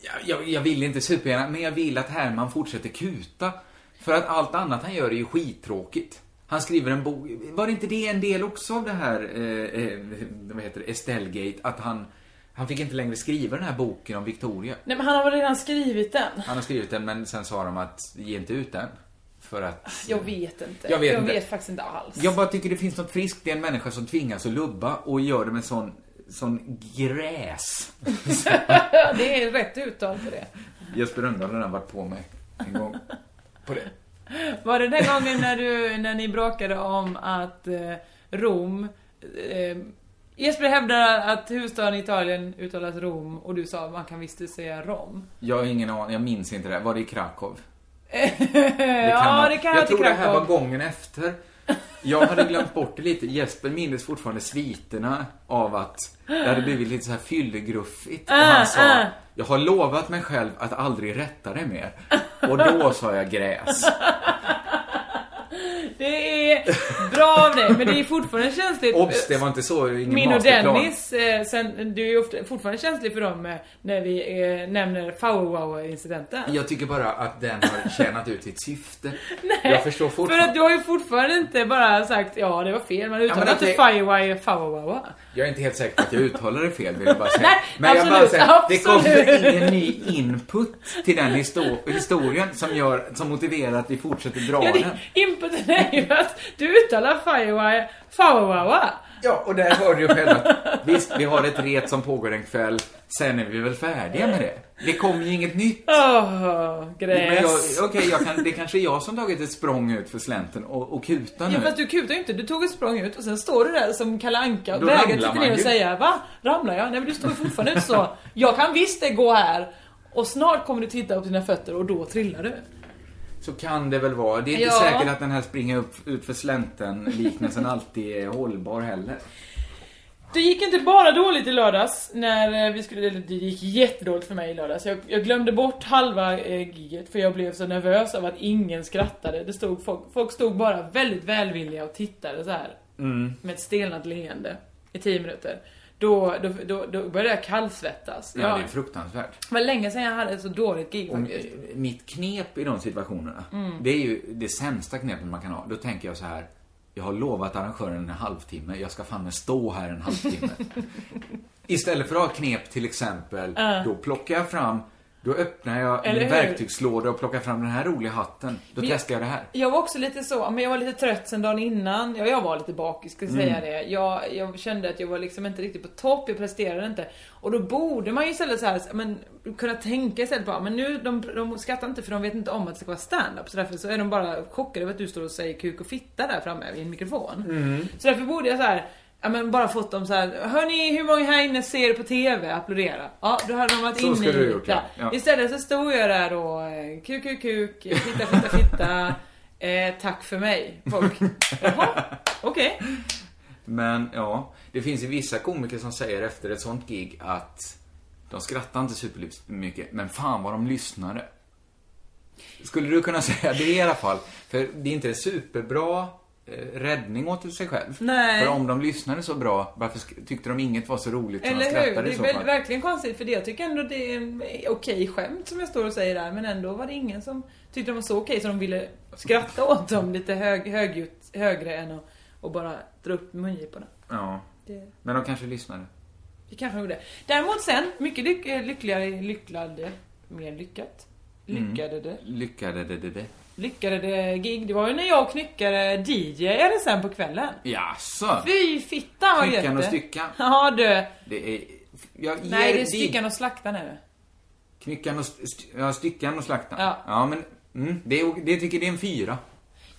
Speaker 5: Jag, jag, jag vill inte supergärna, men jag vill att Herman fortsätter kuta. För att allt annat han gör är ju skittråkigt. Han skriver en bok. Var inte det en del också av det här, eh, eh, vad heter det, Estellegate? Att han, han fick inte längre skriva den här boken om Victoria.
Speaker 6: Nej men han har väl redan skrivit den?
Speaker 5: Han har skrivit den, men sen sa de att ge inte ut den. För att...
Speaker 6: Ah, Jag vet inte.
Speaker 5: Jag vet inte.
Speaker 6: faktiskt inte alls.
Speaker 5: Jag bara tycker det finns något friskt i en människa som tvingas att lubba och gör det med sån, sån gräs.
Speaker 6: Det är rätt uttal för det.
Speaker 5: Jesper Rönndahl har redan varit på mig en gång. På det.
Speaker 6: Var det den gången när, du, när ni bråkade om att eh, Rom... Eh, Jesper hävdar att huvudstaden i Italien uttalas Rom och du sa man kan visst säga Rom.
Speaker 5: Jag har ingen aning, jag minns inte det. Var det i Krakow?
Speaker 6: Eh, ja,
Speaker 5: vara-
Speaker 6: det kan
Speaker 5: jag
Speaker 6: jag inte
Speaker 5: tror det här var
Speaker 6: Krakow.
Speaker 5: gången efter. Jag hade glömt bort det lite. Jesper mindes fortfarande sviterna av att det hade blivit lite så här fyllegruffigt. och
Speaker 6: Äh,
Speaker 5: han sa,
Speaker 6: äh.
Speaker 5: jag har lovat mig själv att aldrig rätta det mer. Och då sa jag gräs.
Speaker 6: Det är bra av dig, men det är fortfarande känsligt. Eh,
Speaker 5: Obs, det var inte så. Ingen
Speaker 6: Min och
Speaker 5: masterplan.
Speaker 6: Dennis, eh, sen, du är ju ofta, fortfarande känslig för dem eh, när vi eh, nämner Fowowow-incidenten.
Speaker 5: Jag tycker bara att den har tjänat ut sitt syfte. jag förstår
Speaker 6: För
Speaker 5: fortfarande.
Speaker 6: att du har ju fortfarande inte bara sagt ja det var fel, men utan
Speaker 5: men
Speaker 6: att
Speaker 5: okej.
Speaker 6: du Firewire Fowowow.
Speaker 5: Jag är inte helt säker på att jag uttalar det fel, vill jag bara säga.
Speaker 6: Nej,
Speaker 5: Men jag bara
Speaker 6: absolut,
Speaker 5: säger, det
Speaker 6: absolut.
Speaker 5: kommer ingen ny input till den histo- historien som, gör, som motiverar att vi fortsätter dra
Speaker 6: Ja,
Speaker 5: den.
Speaker 6: det- Inputen är ju att du uttalar Firewire Fowowow.
Speaker 5: Ja, och där hörde jag själv att visst, vi har ett ret som pågår en kväll, sen är vi väl färdiga med det. Det kommer ju inget nytt.
Speaker 6: Åh,
Speaker 5: Men jag,
Speaker 6: gräs.
Speaker 5: okej, jag kan, det kanske är jag som tagit ett språng ut för slänten och, och kutan
Speaker 6: Ja,
Speaker 5: nu.
Speaker 6: fast du kutar ju inte, du tog ett språng ut och sen står du där som Kalle Anka
Speaker 5: Då
Speaker 6: och vägrar
Speaker 5: ramlar
Speaker 6: titta
Speaker 5: man
Speaker 6: ner och
Speaker 5: ju.
Speaker 6: säga Va? Ramlar jag? Nej men du står ju fortfarande ut så. Jag kan visst det gå här. Och snart kommer du titta upp dina fötter och då trillar du.
Speaker 5: Så kan det väl vara. Det är inte
Speaker 6: Ja.
Speaker 5: säkert att den här springa upp, ut för slänten-liknelsen alltid är hållbar heller.
Speaker 6: Det gick inte bara dåligt i lördags när eh, vi skulle, eller det gick jättedåligt för mig i lördags. Jag, jag glömde bort halva eh, giget för jag blev så nervös av att ingen skrattade. Det stod, folk, folk stod bara väldigt välvilliga och tittade så här
Speaker 5: Mm.
Speaker 6: med ett stelnat leende i 10 minuter. Då, då, då, då började jag kallsvettas.
Speaker 5: Ja,
Speaker 6: Jag,
Speaker 5: det är fruktansvärt.
Speaker 6: det var länge sedan jag hade ett så dåligt gig
Speaker 5: Och
Speaker 6: faktiskt.
Speaker 5: eh, mitt knep i de situationerna,
Speaker 6: Mm.
Speaker 5: det är ju det sämsta knepet man kan ha. Då tänker jag så här, jag har lovat arrangören en halvtimme, jag ska fan med stå här en halvtimme. Istället för att ha knep till exempel,
Speaker 6: Ja.
Speaker 5: då plockar jag fram, då öppnar jag
Speaker 6: Eller
Speaker 5: min
Speaker 6: hur?
Speaker 5: verktygslåda och plockar fram den här roliga hatten. Då
Speaker 6: Men-
Speaker 5: testar jag det här.
Speaker 6: Jag var också lite så, men jag var lite trött sen dagen innan. Ja, jag var lite bakis, ska jag
Speaker 5: Mm.
Speaker 6: säga det. Jag, jag kände att jag var liksom inte riktigt på topp, jag presterade inte. Och då borde man ju istället så här, men, kunna tänka istället på, men nu, de, de skrattar inte för de vet inte om att det ska vara stand-up. Så därför så är de bara chockade över att du står och säger kuk och fitta där framme vid en mikrofon.
Speaker 9: Mm.
Speaker 6: Så därför borde jag så här, ja men bara fått dem så här. hörni hur många här inne ser på TV? Applådera. Ja, då hade de varit
Speaker 5: Så
Speaker 6: inne
Speaker 5: skulle du
Speaker 6: i
Speaker 5: gjort,
Speaker 6: det.
Speaker 5: ja. Ja.
Speaker 6: Istället så stod jag där då, eh, kuk, kuk, kuk, fitta, fitta, fitta. Eh, tack för mig, folk. Jaha, okej.
Speaker 5: Men ja, det finns ju vissa komiker som säger efter ett sånt gig att de skrattar inte supermycket, men fan vad de lyssnade. Skulle du kunna säga det i alla fall? För det är inte en superbra eh, räddning åt sig själv.
Speaker 6: Nej.
Speaker 5: För om de lyssnade så bra, varför sk- tyckte de inget var så roligt som de
Speaker 6: Eller hur?
Speaker 5: skrattade
Speaker 6: Det
Speaker 5: i
Speaker 6: är
Speaker 5: så
Speaker 6: väl,
Speaker 5: fall?
Speaker 6: verkligen konstigt för det. Jag tycker ändå det är en okej skämt som jag står och säger där men ändå var det ingen som tyckte de var så okej så de ville skratta åt dem lite hög, högljutt, högre än att och bara dra upp mungiporna.
Speaker 5: Ja.
Speaker 6: Det-
Speaker 5: Men de kanske lyssnade.
Speaker 6: Det kanske de gjorde. Däremot sen, mycket lyck eh, lyckligare, lycklade, mer lyckat.
Speaker 5: Mm.
Speaker 6: Lyckade det.
Speaker 5: Lyckade det det det.
Speaker 6: Lyckade det gig. Det var ju när jag och Knyckare DJade sen på kvällen.
Speaker 5: Jaså?
Speaker 6: Fy fittan vad
Speaker 5: Knyckan
Speaker 6: gött
Speaker 5: och
Speaker 6: det.
Speaker 5: Styckan.
Speaker 6: Ja du.
Speaker 5: Det är... Jag ger
Speaker 6: Nej det är
Speaker 5: dig-
Speaker 6: Styckan och Slaktan är det.
Speaker 5: Knyckan och, st- st- ja, styckan och slaktan.
Speaker 6: Ja.
Speaker 5: men mm, det, är, det tycker det är en fyra.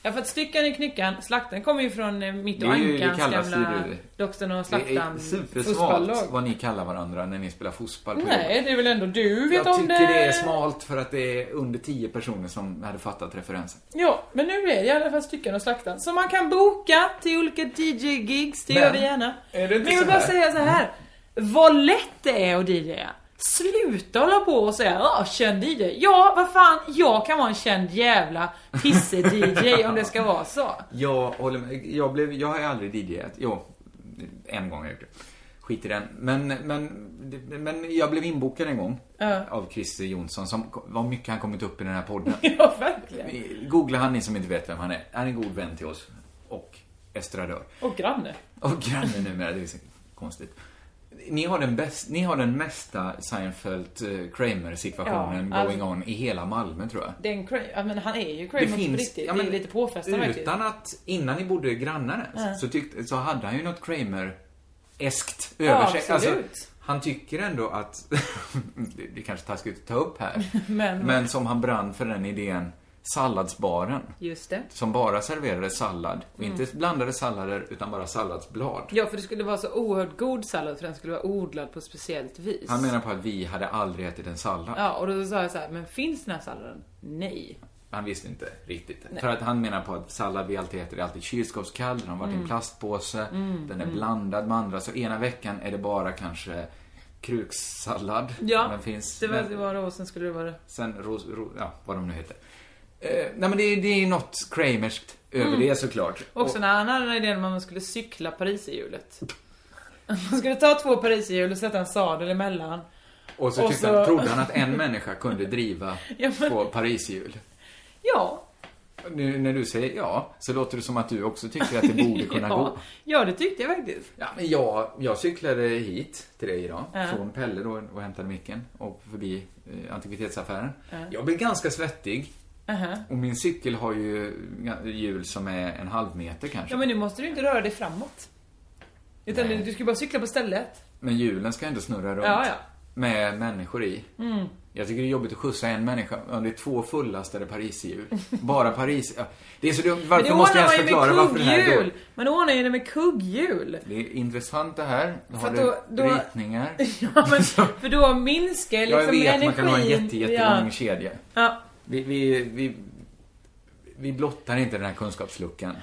Speaker 6: Ja för att Styckan är Knyckan, Slaktan kommer ju från eh, mitt
Speaker 5: Det
Speaker 6: och
Speaker 5: är ju- det
Speaker 6: Ankans
Speaker 5: kallas ju
Speaker 6: gamla
Speaker 5: det.
Speaker 6: Doxen och
Speaker 5: Det är
Speaker 6: Slaktan
Speaker 5: supersmalt
Speaker 6: fotbollslag.
Speaker 5: vad ni kallar varandra när ni spelar fotboll på
Speaker 6: Nej
Speaker 5: jobbet.
Speaker 6: det är väl ändå du vet
Speaker 5: Jag
Speaker 6: om det.
Speaker 5: tycker det är smalt för att det är under tio personer som hade fattat referensen.
Speaker 6: Ja, men nu är det i alla fall stycken och slaktan. Så man kan boka till olika DJ-gigs, det
Speaker 5: Men,
Speaker 6: gör vi gärna.
Speaker 5: är det inte
Speaker 6: men jag
Speaker 5: så
Speaker 6: vill bara
Speaker 5: här?
Speaker 6: säga så här. Vad lätt det är att DJa. Sluta hålla på och säga ja, känd DJ. Ja, vad fan, jag kan vara en känd jävla pisse-DJ om det ska vara så.
Speaker 5: Jag håller med. Jag, blev, jag har ju aldrig DJat. Jo, en gång har jag gjort det. Skit i den. Men, men, men jag blev inbokad en gång
Speaker 6: Ja.
Speaker 5: av Christer Jonsson som var mycket han kommit upp i den här podden.
Speaker 6: Ja, verkligen.
Speaker 5: Googla han ni som inte vet vem han är. Han är en god vän till oss. Och estradör.
Speaker 6: Och granne.
Speaker 5: Och granne numera, det är så konstigt. Ni har den, bäst, ni har den mesta Seinfeld-Kramer-situationen
Speaker 6: Ja, alltså-
Speaker 5: going on i hela Malmö, tror jag.
Speaker 6: Den Cra- ja, men han är ju Kramer på riktigt.
Speaker 5: ja,
Speaker 6: det är
Speaker 5: men
Speaker 6: lite påfrestande faktiskt.
Speaker 5: Utan att, innan ni bodde grannar ens,
Speaker 6: Ja.
Speaker 5: så, tyckte, så hade han ju något Kramer-eskt
Speaker 6: Ja,
Speaker 5: över sig.
Speaker 6: absolut.
Speaker 5: han tycker ändå att, det, det är kanske taskigt att ta upp här,
Speaker 6: Men-
Speaker 5: men som han brann för den idén, salladsbaren.
Speaker 6: Just det.
Speaker 5: Som bara serverade sallad, och
Speaker 6: Mm.
Speaker 5: inte blandade sallader, utan bara salladsblad.
Speaker 6: Ja, för det skulle vara så oerhört god sallad för den skulle vara odlad på ett speciellt vis.
Speaker 5: Han menar på att vi hade aldrig ätit en sallad.
Speaker 6: Ja, och då sa jag så här, men finns den här salladen? Nej.
Speaker 5: Han visste inte riktigt.
Speaker 6: Nej.
Speaker 5: För att han menar på att sallad vi alltid äter är alltid kylskåpskall, den har varit i en
Speaker 6: Mm.
Speaker 5: plastpåse,
Speaker 6: Mm,
Speaker 5: den är
Speaker 6: mm.
Speaker 5: blandad med andra. Så ena veckan är det bara kanske kruksallad.
Speaker 6: Ja,
Speaker 5: den finns.
Speaker 6: det var,
Speaker 5: men
Speaker 6: det var då och sen skulle det vara det.
Speaker 5: Sen ros, ro, ja, vad de nu heter. Eh, nej men det, det är något Kramerskt över
Speaker 6: Mm.
Speaker 5: det såklart.
Speaker 6: Också när han hade den idén om att man skulle cykla pariserhjulet. Man skulle ta två pariserhjul och sätta en sadel emellan.
Speaker 5: Och, och så,
Speaker 6: och
Speaker 5: tyckte
Speaker 6: så-
Speaker 5: Han, trodde han att en människa kunde driva
Speaker 6: Ja, men-
Speaker 5: på Parishjul.
Speaker 6: Ja.
Speaker 5: Nu när du säger ja, så låter det som att du också tycker att det borde kunna
Speaker 6: ja.
Speaker 5: gå.
Speaker 6: Ja, det tyckte jag faktiskt.
Speaker 5: Ja, men jag, jag cyklade hit till dig idag,
Speaker 6: Ja.
Speaker 5: från Pelle då och hämtade micken och förbi eh, antikvitetsaffären.
Speaker 6: Ja.
Speaker 5: Jag blev ganska svettig
Speaker 6: Aha.
Speaker 5: och min cykel har ju ga- hjul som är en halv meter kanske.
Speaker 6: Ja, men nu måste du inte röra dig framåt. Utan
Speaker 5: Nej.
Speaker 6: du ska bara cykla på stället.
Speaker 5: Men hjulen ska ändå snurra runt
Speaker 6: Ja, ja.
Speaker 5: med människor i.
Speaker 6: Mm.
Speaker 5: Jag tycker det är jobbigt att skjutsa en människa om det är två fullastade pariserhjul. Bara Paris... ja. Det är så dumt.
Speaker 6: Men det
Speaker 5: Varför måste jag ens
Speaker 6: ordnar man
Speaker 5: förklara
Speaker 6: ju
Speaker 5: varför det
Speaker 6: med
Speaker 5: här är
Speaker 6: kugghjul.
Speaker 5: dåligt?
Speaker 6: Man ordnar ju det med kugghjul.
Speaker 5: Det är intressant det här. Nu
Speaker 6: För
Speaker 5: har
Speaker 6: att
Speaker 5: du
Speaker 6: då- då-
Speaker 5: ritningar.
Speaker 6: Ja, men, för då minskar liksom
Speaker 5: Jag vet,
Speaker 6: energin.
Speaker 5: man kan ha en jätte, jättelång
Speaker 6: ja.
Speaker 5: kedja.
Speaker 6: Ja.
Speaker 5: Vi, vi, vi, vi blottar inte den här kunskapsluckan.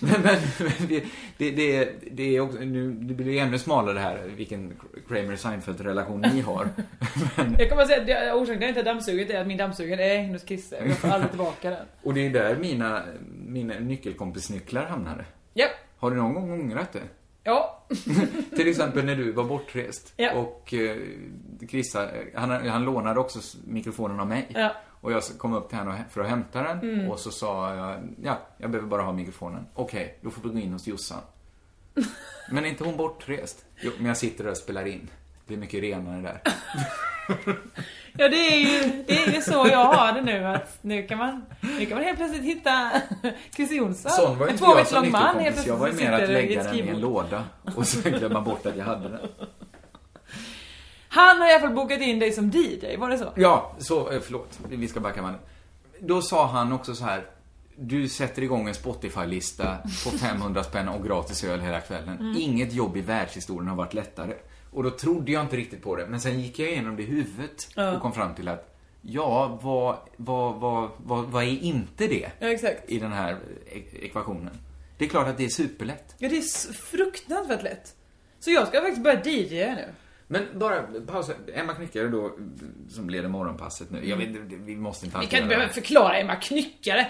Speaker 5: Men, men, men vi, det, det, det är också, nu det blir ju ännu smalare här, vilken Kramer-Seinfeld-relation ni har.
Speaker 6: Jag kommer att säga att det- orsaken till att jag inte har dammsugit är att min dammsugare är hennes kisse. Jag får aldrig tillbaka den.
Speaker 5: Och det är där mina, mina nyckelkompisnycklar hamnade.
Speaker 6: Japp.
Speaker 5: Har du någon gång ångrat det?
Speaker 6: Ja.
Speaker 5: Till exempel när du var bortrest
Speaker 6: Ja.
Speaker 5: och eh, Chrissa, eh, han, han lånade också s- mikrofonen av mig.
Speaker 6: Ja.
Speaker 5: Och jag kom upp till henne och hä- för att hämta den
Speaker 6: Mm.
Speaker 5: och så sa jag, ja, jag behöver bara ha mikrofonen. Okej, då får du gå in hos Jossan. men är inte hon bortrest? Jo, men jag sitter där och spelar in. Det är mycket renare där.
Speaker 6: Ja det är ju det är ju så jag har det nu att nu kan man, nu kan man helt plötsligt hitta Christer Jonsson.
Speaker 5: Sån var
Speaker 6: en
Speaker 5: inte
Speaker 6: två
Speaker 5: jag
Speaker 6: meter
Speaker 5: som
Speaker 6: lång man helt
Speaker 5: nyckelkompis. Jag
Speaker 6: plötsligt
Speaker 5: var ju
Speaker 6: som
Speaker 5: mer att
Speaker 6: sitter i
Speaker 5: lägga
Speaker 6: ett
Speaker 5: den i en
Speaker 6: skrivbord.
Speaker 5: låda och så glömma bort att jag hade den.
Speaker 6: Han har i alla fall bokat in dig som DJ, var det så?
Speaker 5: Ja, så, eh, förlåt. Vi ska backa bandet. Då sa han också så här. Du sätter igång en Spotify-lista på 500 spänn och gratis öl hela kvällen.
Speaker 6: Mm.
Speaker 5: Inget jobb i världshistorien har varit lättare. Och då trodde jag inte riktigt på det, men sen gick jag igenom det i huvudet
Speaker 6: Ja.
Speaker 5: och kom fram till att ja, vad, vad, vad, vad, vad är inte det
Speaker 6: Ja exakt.
Speaker 5: i den här eh, ek- ekvationen? Det är klart att det är superlätt.
Speaker 6: Ja det är s- fruktansvärt lätt. Så jag ska faktiskt börja DJ nu.
Speaker 5: Men bara pausa. Emma Knyckare då, som leder morgonpasset nu. Jag vet, vi måste inte
Speaker 6: Vi
Speaker 5: alltid
Speaker 6: kan inte
Speaker 5: göra
Speaker 6: behöva
Speaker 5: det.
Speaker 6: förklara Emma Knyckare.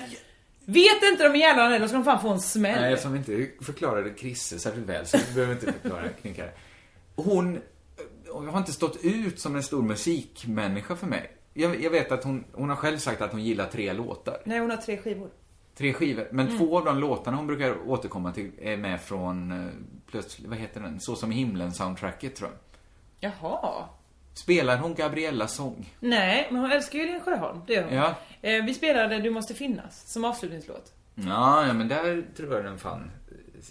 Speaker 6: Vet inte de jävlarna eller så ska de fan få en smäll.
Speaker 5: Nej, eftersom vi inte förklarade Chrisse särskilt väl så vi behöver inte förklara knyckare. Hon eh, har inte stått ut som en stor musikmänniska för mig. Jag, jag vet att hon, hon har själv sagt att hon gillar tre låtar.
Speaker 6: Nej hon har tre skivor.
Speaker 5: Tre skivor. Men
Speaker 6: Mm.
Speaker 5: två av de låtarna hon brukar återkomma till är med från, eh, plötsligt, vad heter den? Så som i himlen-soundtracket tror jag.
Speaker 6: Jaha.
Speaker 5: Spelar hon Gabriellas sång?
Speaker 6: Nej, men hon älskar ju Linn Sjöholm, det gör hon.
Speaker 5: Ja.
Speaker 6: Eh, vi spelade Du måste finnas som avslutningslåt.
Speaker 5: Ja, ja men där tror jag den fann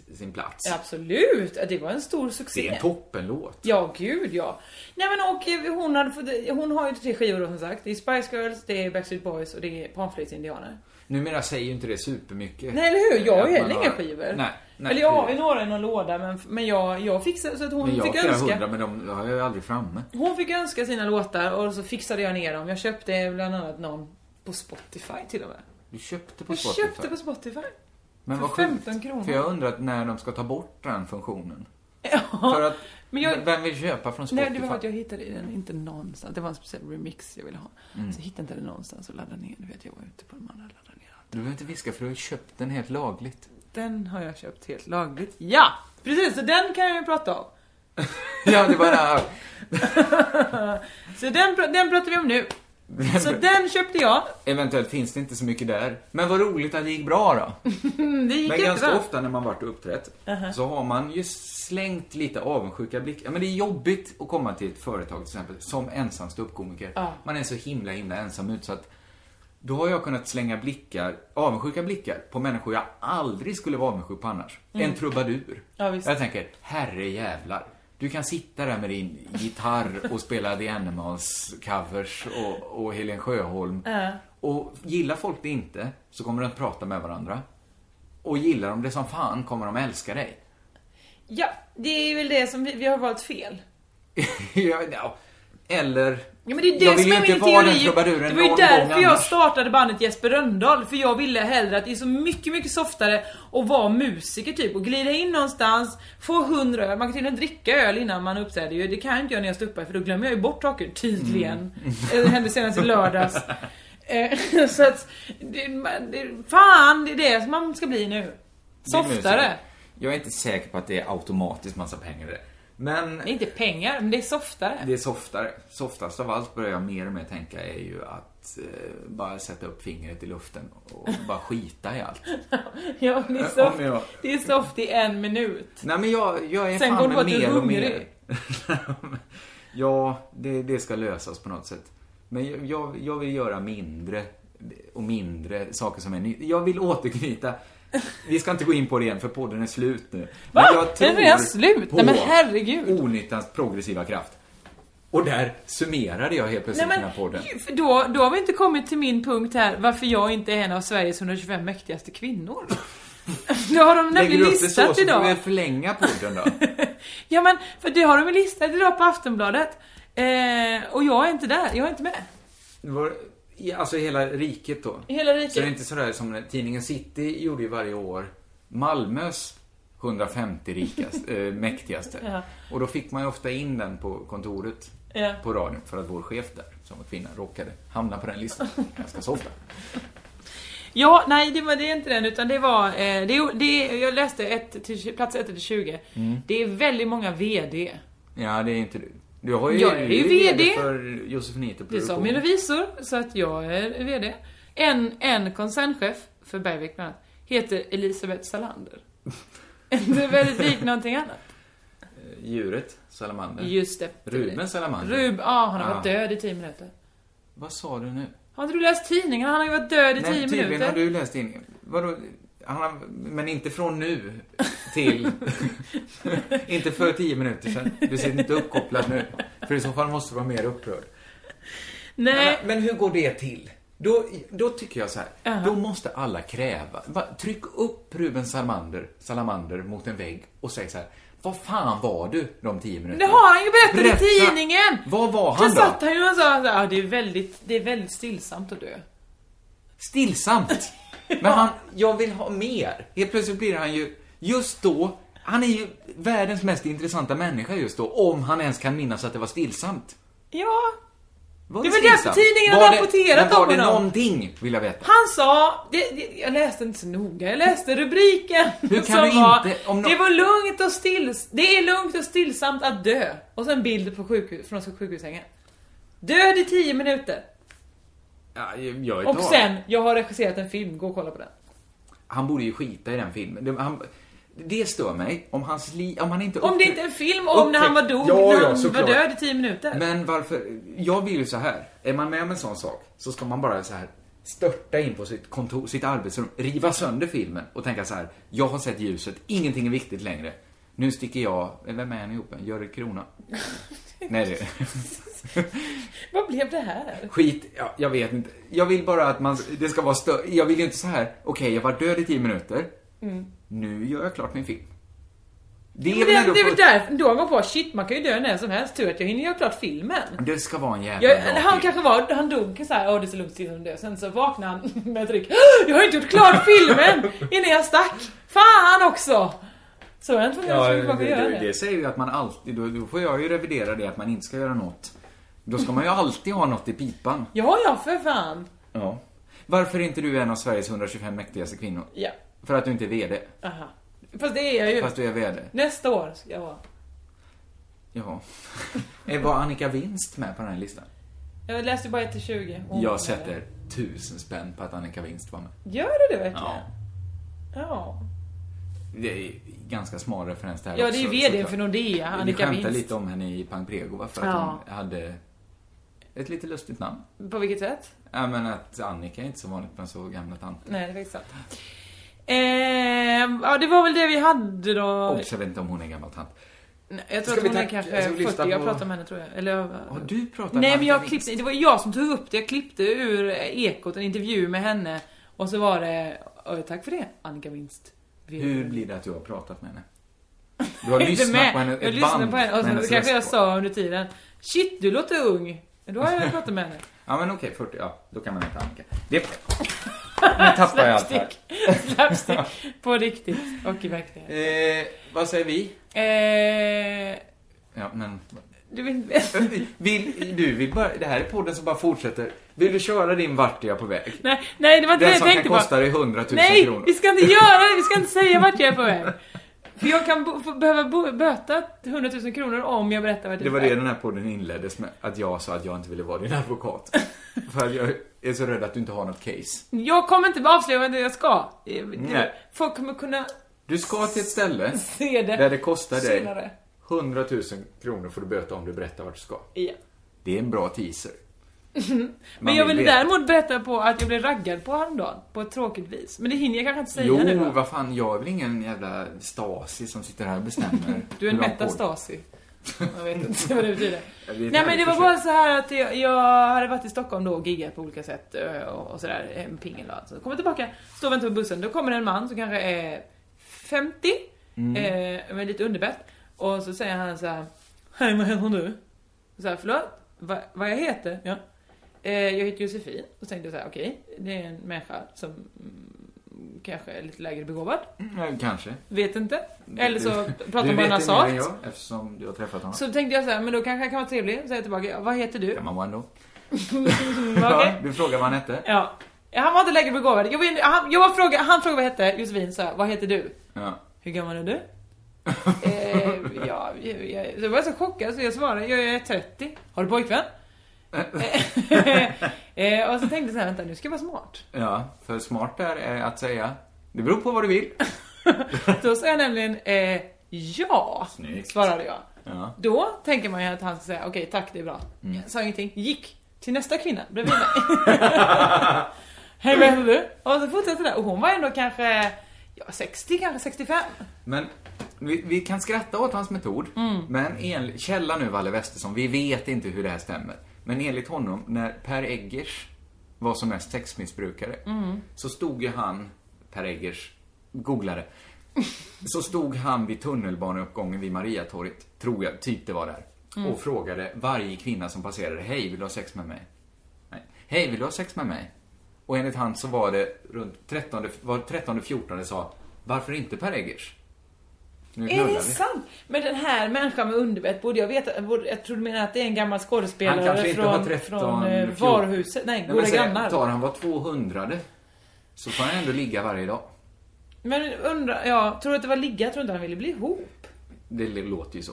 Speaker 5: eh, sin plats.
Speaker 6: Absolut, ja, det var en stor succé.
Speaker 5: Det är en toppenlåt.
Speaker 6: Ja, gud ja. Nej men och eh, hon, hade fått, hon har ju tre skivor då, som sagt. Det är Spice Girls, det är Backstreet Boys och det är Panflöjtsindianer.
Speaker 5: Numera säger ju inte det supermycket.
Speaker 6: Nej eller hur? Jag har ju
Speaker 5: Att man
Speaker 6: heller inga skivor.
Speaker 5: Nej, nej.
Speaker 6: Eller jag har ju några i någon låda men, men jag, jag fixade så att hon
Speaker 5: men jag
Speaker 6: fick
Speaker 5: har flera
Speaker 6: önska.
Speaker 5: hundra, men de har jag ju aldrig framme.
Speaker 6: Hon fick önska sina låtar och så fixade jag ner dem. Jag köpte bland annat någon på Spotify till och med.
Speaker 5: Du köpte på
Speaker 6: Jag
Speaker 5: Spotify.
Speaker 6: köpte på Spotify.
Speaker 5: men
Speaker 6: för
Speaker 5: vad sjukt,
Speaker 6: 15 kronor.
Speaker 5: För jag undrar att när de ska ta bort den funktionen. För att,
Speaker 6: men jag-
Speaker 5: vem vill köpa från Spotify?
Speaker 6: Nej, det var för att jag hittade den inte någonstans. Det var en speciell remix jag ville ha.
Speaker 5: Mm.
Speaker 6: Så jag hittade inte den någonstans och laddade ner. Du vet, jag var ute på de andra laddade ner.
Speaker 5: Du behöver inte viska för du har ju köpt den helt lagligt.
Speaker 6: Den har jag köpt helt lagligt. Ja! Precis, så den kan jag ju prata om.
Speaker 5: ja, det var den här.
Speaker 6: Så den, pr- den pratar vi om nu. Så den köpte jag.
Speaker 5: Eventuellt finns det inte så mycket där. Men vad roligt att det gick bra då.
Speaker 6: Mm, Det gick
Speaker 5: Men
Speaker 6: jättebra.
Speaker 5: ganska ofta när man varit och uppträtt
Speaker 6: Aha.
Speaker 5: så har man ju slängt lite avundsjuka blickar. Men det är jobbigt att komma till ett företag till exempel som ensam ståuppkomiker.
Speaker 6: Ja.
Speaker 5: Man är så himla himla ensam utsatt. Då har jag kunnat slänga blickar, avundsjuka blickar på människor jag aldrig skulle vara avundsjuk på annars.
Speaker 6: Mm.
Speaker 5: En trubadur.
Speaker 6: Ja, visst.
Speaker 5: Jag tänker, herre jävlar. Du kan sitta där med din gitarr och spela The Animals covers och, och Helen Sjöholm.
Speaker 6: Ja.
Speaker 5: Och gillar folk det inte så kommer de att prata med varandra. Och gillar de det som fan kommer de älska dig.
Speaker 6: Ja, det är väl det som vi, vi har valt fel.
Speaker 5: Ja, ja. Eller...
Speaker 6: Ja, men det är det
Speaker 5: jag vill
Speaker 6: som
Speaker 5: ju
Speaker 6: är
Speaker 5: inte
Speaker 6: min
Speaker 5: vara den
Speaker 6: teori.
Speaker 5: trubaduren
Speaker 6: det var ju
Speaker 5: någon
Speaker 6: därför
Speaker 5: gång
Speaker 6: jag
Speaker 5: annars.
Speaker 6: startade bandet Jesper Rönndahl. För jag ville hellre att det är så mycket, mycket softare att vara musiker typ. Och glida in någonstans, få 100 öl. Man kan till och med dricka öl innan man uppträder ju. Det kan jag inte göra när jag står uppe för då glömmer jag ju bort saker tydligen.
Speaker 5: Mm.
Speaker 6: Eh, Det hände senast i lördags. Eh, så att, det, man- det, fan, det är det som man ska bli
Speaker 5: Det
Speaker 6: nu.
Speaker 5: är nu så.
Speaker 6: Softare.
Speaker 5: Jag är inte säker på att det är automatiskt massa pengar i det. Men
Speaker 6: Det är inte pengar, men det är softare.
Speaker 5: det är softare. Softast av allt börjar jag mer och mer tänka är ju att eh, bara sätta upp fingret i luften och bara skita i allt.
Speaker 6: Ja, det är
Speaker 5: Om
Speaker 6: soft,
Speaker 5: jag-
Speaker 6: det är soft i en minut.
Speaker 5: Nej men jag, jag är
Speaker 6: Sen
Speaker 5: fan
Speaker 6: går det bara
Speaker 5: med
Speaker 6: att du är
Speaker 5: mer och mer.
Speaker 6: hungrig.
Speaker 5: ja, det, det ska lösas på något sätt. Men jag- jag, jag vill göra mindre och mindre saker som är ny. Jag vill återknyta. Vi ska inte gå in på det igen för podden är slut nu. Men
Speaker 6: Va?
Speaker 5: jag
Speaker 6: Den är
Speaker 5: tror
Speaker 6: redan slut?
Speaker 5: på
Speaker 6: Nej, men herregud.
Speaker 5: Onyttans progressiva kraft. Och där summerade jag helt
Speaker 6: Nej,
Speaker 5: plötsligt
Speaker 6: men,
Speaker 5: den här podden.
Speaker 6: för då, då har vi inte kommit till min punkt här, varför jag inte är en av Sveriges 125 mäktigaste kvinnor. Det har de
Speaker 5: Lägger
Speaker 6: nämligen
Speaker 5: du upp det så,
Speaker 6: listat
Speaker 5: så får vi
Speaker 6: idag.
Speaker 5: förlänga podden då.
Speaker 6: Ja men, för det har de ju listat idag på Aftonbladet. Eh, och jag är inte där, jag är inte med.
Speaker 5: Det var, i- alltså hela riket då.
Speaker 6: Hela riket.
Speaker 5: Så det är inte sådär som när tidningen City gjorde ju varje år Malmös 150 rikast, eh, mäktigaste.
Speaker 6: Ja.
Speaker 5: Och då fick man ju ofta in den på kontoret
Speaker 6: Ja.
Speaker 5: på radion för att vår chef där, som var kvinna, råkade hamna på den listan ganska så ofta.
Speaker 6: Ja, nej det, var, det är inte den utan det var, eh, det, det, jag läste ett till, plats 1 till 20.
Speaker 5: Mm.
Speaker 6: Det är väldigt många VD.
Speaker 5: Ja, det är inte du. Du har ju,
Speaker 6: Jag är ju
Speaker 5: du
Speaker 6: VD.
Speaker 5: för Josefinito
Speaker 6: Det sa min revisor, så att jag är VD. En, en koncernchef, för Bergvik bland annat, heter Elisabeth Salander. Det är väldigt lik någonting annat.
Speaker 5: Djuret, salamander.
Speaker 6: Just det.
Speaker 5: Ruben Salamander.
Speaker 6: Rub, ja han har
Speaker 5: Ja.
Speaker 6: varit död i 10 minuter.
Speaker 5: Vad sa du nu?
Speaker 6: Har inte du läst tidningen? Han har ju varit död i 10
Speaker 5: Men
Speaker 6: minuter.
Speaker 5: tydligen har du läst in. Vadå? Han har, men inte från nu till... inte för tio minuter sedan. Du sitter inte uppkopplad nu. För i så fall måste du vara mer upprörd.
Speaker 6: Nej,
Speaker 5: Men, men hur går det till? Då, då tycker jag så här. Då måste alla kräva. Bara, tryck upp Ruben Salamander, Salamander mot en vägg och säg så här. Vad fan var du de tio
Speaker 6: det
Speaker 5: minuterna?
Speaker 6: har han ju berättat i
Speaker 5: Berätta.
Speaker 6: tidningen!
Speaker 5: Vad var
Speaker 6: Sen
Speaker 5: han då?
Speaker 6: satt han ju och sa att ah, det, är väldigt- det är väldigt stillsamt att dö.
Speaker 5: Stillsamt. Men han, jag vill ha mer. Helt plötsligt blir han ju, just då, han är ju världens mest intressanta människa just då, om han ens kan minnas att det var stillsamt.
Speaker 6: Ja,
Speaker 5: Var
Speaker 6: Det är väl därför tidningen hade
Speaker 5: det-
Speaker 6: rapporterat
Speaker 5: men
Speaker 6: om
Speaker 5: Var det
Speaker 6: honom.
Speaker 5: någonting, vill jag veta.
Speaker 6: Han sa, det, det, jag läste inte så noga, jag läste rubriken
Speaker 5: Hur kan
Speaker 6: som
Speaker 5: du
Speaker 6: var
Speaker 5: inte- om nå-
Speaker 6: Det var lugnt och stills, det är lugnt och stillsamt att dö. Och sen bild på sjukhus, från sjukhussängen. Död i 10 minuter.
Speaker 5: Ja, jag är
Speaker 6: Och
Speaker 5: klar.
Speaker 6: sen, jag har regisserat en film, gå och kolla på den.
Speaker 5: Han borde ju skita i den filmen. Det, han, det stör mig, om, hans li, om han inte...
Speaker 6: Om det inte är en film om när han var död,
Speaker 5: Ja, ja,
Speaker 6: när han var
Speaker 5: såklart.
Speaker 6: död i 10 minuter.
Speaker 5: Men varför? Jag vill ju så här. Är man med om en sån sak så ska man bara så här störta in på sitt kontor, sitt arbetsrum, riva sönder filmen och tänka så här. Jag har sett ljuset, ingenting är viktigt längre. Nu sticker jag, vem är han ihop med? Görel Krona? Nej, det
Speaker 6: Vad blev det här?
Speaker 5: Skit, ja, jag vet inte. Jag vill bara att man, det ska vara större. Jag vill ju inte så här. okej jag var död i 10 minuter. Nu gör jag klart min film. Det
Speaker 6: Det, Mm. det,
Speaker 5: ändå
Speaker 6: är väl
Speaker 5: på-
Speaker 6: där, då han kom på, shit man kan ju dö när som helst, tur att jag hinner göra klart filmen.
Speaker 5: Det ska vara en jävla
Speaker 6: Jag,
Speaker 5: bra
Speaker 6: han
Speaker 5: film.
Speaker 6: kanske var, han dog såhär, åh det är så lugnt tills han dör. Sen så vaknade han med ett ryck. Jag har inte gjort klart filmen innan jag stack. Fan också! Så jag är inte
Speaker 5: Ja,
Speaker 6: tvungen
Speaker 5: det,
Speaker 6: att göra
Speaker 5: det,
Speaker 6: det.
Speaker 5: säger ju att man alltid, då, då får jag ju revidera det att man inte ska göra något. Då ska man ju alltid ha något i pipan.
Speaker 6: Ja, ja för fan.
Speaker 5: Ja. Varför är inte du en av Sveriges 125 mäktigaste kvinnor?
Speaker 6: Ja,
Speaker 5: För att du inte är VD.
Speaker 6: aha. Fast det är jag ju.
Speaker 5: Fast du är VD.
Speaker 6: Nästa år ska jag vara.
Speaker 5: Ja. Eh, Var Annika Winst med på den här listan?
Speaker 6: Jag läste ju bara 1 till 20. Hon var
Speaker 5: Jag
Speaker 6: med.
Speaker 5: sätter tusen spänn på att Annika Winst var med.
Speaker 6: Gör du det verkligen?
Speaker 5: Ja.
Speaker 6: Ja. Ja,
Speaker 5: Det är ganska smal referens det här
Speaker 6: det är ju
Speaker 5: också,
Speaker 6: VD
Speaker 5: såklart.
Speaker 6: för Nordea, Annika
Speaker 5: Vi skämtade
Speaker 6: Winst.
Speaker 5: lite om henne i Pamprego för att
Speaker 6: Ja.
Speaker 5: hon hade ett lite lustigt namn.
Speaker 6: På vilket sätt?
Speaker 5: Ja, men att Annika är inte så vanligt med så gamla tant.
Speaker 6: Nej, det är faktiskt sant. Ehm, ja, det var väl det vi hade då.
Speaker 5: Och så vet inte om hon är gammal tant.
Speaker 6: Nej, Jag
Speaker 5: Ska
Speaker 6: tror att
Speaker 5: vi
Speaker 6: hon är
Speaker 5: tacka-
Speaker 6: kanske
Speaker 5: ska vi
Speaker 6: 40,
Speaker 5: lyssna
Speaker 6: jag
Speaker 5: på-
Speaker 6: pratade om henne tror jag. Eller,
Speaker 5: Har du pratat med
Speaker 6: Nej men
Speaker 5: Annika
Speaker 6: jag
Speaker 5: Winst?
Speaker 6: klippte, det var jag som tog upp det. Jag klippte ur eh, Ekot en intervju med henne och så var det, "Ö, tack för det Annika Winst. Vi-
Speaker 5: Hur blir det att du har pratat med henne? Du har
Speaker 6: Jag är inte
Speaker 5: lyssnat
Speaker 6: med.
Speaker 5: på henne,
Speaker 6: Jag
Speaker 5: ett
Speaker 6: lyssnade
Speaker 5: band
Speaker 6: på henne och
Speaker 5: med
Speaker 6: så
Speaker 5: hennes
Speaker 6: kanske jag
Speaker 5: röst på.
Speaker 6: sa under tiden, shit du låter ung. Men Då har jag pratat med henne.
Speaker 5: Ja men okej, 40, ja. Då kan man heta Annika. Det... Nu tappar jag allt här.
Speaker 6: Slapstick på riktigt och i verkligheten.
Speaker 5: Eh, vad säger vi?
Speaker 6: Eh,
Speaker 5: Ja men...
Speaker 6: Du vill...
Speaker 5: Vill, du vill bara, det här är podden som bara fortsätter. Vill du köra din vart är jag på väg?
Speaker 6: Nej, nej, det var inte det
Speaker 5: Den
Speaker 6: jag
Speaker 5: som kan
Speaker 6: tänkte på.
Speaker 5: kosta dig 100 000
Speaker 6: Nej,
Speaker 5: kronor.
Speaker 6: vi ska inte göra det. Vi ska inte säga vart jag är på väg. För jag kan bo, få, behöva bo, böta 100 000 kronor om jag berättar vart jag
Speaker 5: Det
Speaker 6: är på
Speaker 5: var
Speaker 6: väg.
Speaker 5: det den här podden inleddes med, att jag sa att jag inte ville vara din advokat. För att jag är så rädd att du inte har något case.
Speaker 6: Jag kommer inte avslöja vad det är jag ska. Eh,
Speaker 5: Nej.
Speaker 6: Folk kommer kunna
Speaker 5: Du ska till ett ställe
Speaker 6: se det.
Speaker 5: där det kostar dig
Speaker 6: senare.
Speaker 5: 100 000 kronor får du böta om du berättar vart du ska.
Speaker 6: Ja.
Speaker 5: Det är en bra teaser.
Speaker 6: Men
Speaker 5: Man
Speaker 6: jag
Speaker 5: vill
Speaker 6: vill
Speaker 5: veta.
Speaker 6: däremot berätta på att jag blev raggad på häromdagen. På ett tråkigt vis. Men det hinner jag kanske inte säga
Speaker 5: Jo,
Speaker 6: nu va?
Speaker 5: vad fan, jag är väl ingen jävla Stasi som sitter här och bestämmer.
Speaker 6: Du är en
Speaker 5: hur lång podd-
Speaker 6: metastasi. Jag vet inte vad det betyder.
Speaker 5: Jag vet
Speaker 6: Nej
Speaker 5: inte,
Speaker 6: men det var
Speaker 5: försök.
Speaker 6: bara så här att jag, jag hade varit i Stockholm då och giggat på olika sätt eh, och, och sådär, en pingel och allt. Så kommer tillbaka, står och väntar på bussen, då kommer en man som kanske är 50,
Speaker 5: Mm.
Speaker 6: eh, med lite underbett. Och så säger han så här, Hej vad heter du? Och Så här, förlåt? Va, vad jag heter? Ja. Eh, jag heter Josefin. Och så tänkte jag så här, okej, det är en människa som mm, kanske är lite lägre begåvad.
Speaker 5: Nej, Mm, Kanske.
Speaker 6: Vet inte. Eller så pratar
Speaker 5: Mm. Du vet
Speaker 6: man bara
Speaker 5: det mer än
Speaker 6: sagt.
Speaker 5: jag, eftersom du har träffat honom.
Speaker 6: Så tänkte jag så här, men då kanske jag kan vara trevlig. Så säger jag tillbaka, vad heter du?
Speaker 5: Kan man vara ändå.
Speaker 6: Ja, Mm, okej.
Speaker 5: Ja, du frågar vad han hette.
Speaker 6: Ja. Han var inte lägre begåvad. Jag, vet- han, jag var fråga, han frågade vad jag hette, Josefin sa vad heter du?
Speaker 5: Ja.
Speaker 6: Hur gammal är du? eh, ja, jag, jag, så jag var så chockad så jag svarade, jag är 30. Har du pojkvän? Eh, eh, och så tänkte jag så här, vänta nu ska jag vara smart.
Speaker 5: ja, för smart där är att säga. Det beror på vad du vill.
Speaker 6: Då sa jag nämligen, eh, ja,
Speaker 5: Snyggt.
Speaker 6: svarade jag.
Speaker 5: Ja.
Speaker 6: Då tänker man ju att han ska säga, okej tack det är bra.
Speaker 5: Mm.
Speaker 6: Jag sa ingenting, gick till nästa kvinna bredvid mig. Hej vad heter du? Och så fortsatte det där. och hon var ändå kanske, ja 60 kanske, 65.
Speaker 5: Men vi, vi kan skratta åt hans metod. Men enligt, källa nu Valle Westesson, vi vet inte hur det här stämmer. Men enligt honom, när Per Eggers var som mest sexmissbrukare, så stod ju han, Per Eggers, googlade, så stod han vid tunnelbaneuppgången vid Mariatorget, tror jag, typ det var där,
Speaker 6: Mm.
Speaker 5: och frågade varje kvinna som passerade, hej, vill du ha sex med mig? Nej. Hej, vill du ha sex med mig? Och enligt han så var det runt 13, var 13, 14 sa, varför inte Per Eggers? Nu
Speaker 6: Är
Speaker 5: knullar
Speaker 6: det
Speaker 5: vi.
Speaker 6: sant? Men den här människan med underbett borde jag veta, borde, jag tror du menar att det är en gammal skådespelare
Speaker 5: Han kanske inte
Speaker 6: från,
Speaker 5: var 13,
Speaker 6: från eh,
Speaker 5: 14.
Speaker 6: varuhuset, nej,
Speaker 5: Nej,
Speaker 6: Goda
Speaker 5: men säg,
Speaker 6: Grannar.
Speaker 5: Tar han var 200 så får han ändå ligga varje dag.
Speaker 6: Men undrar, ja, tror du att det var ligga? Tror du inte han ville bli ihop?
Speaker 5: Det låter ju så.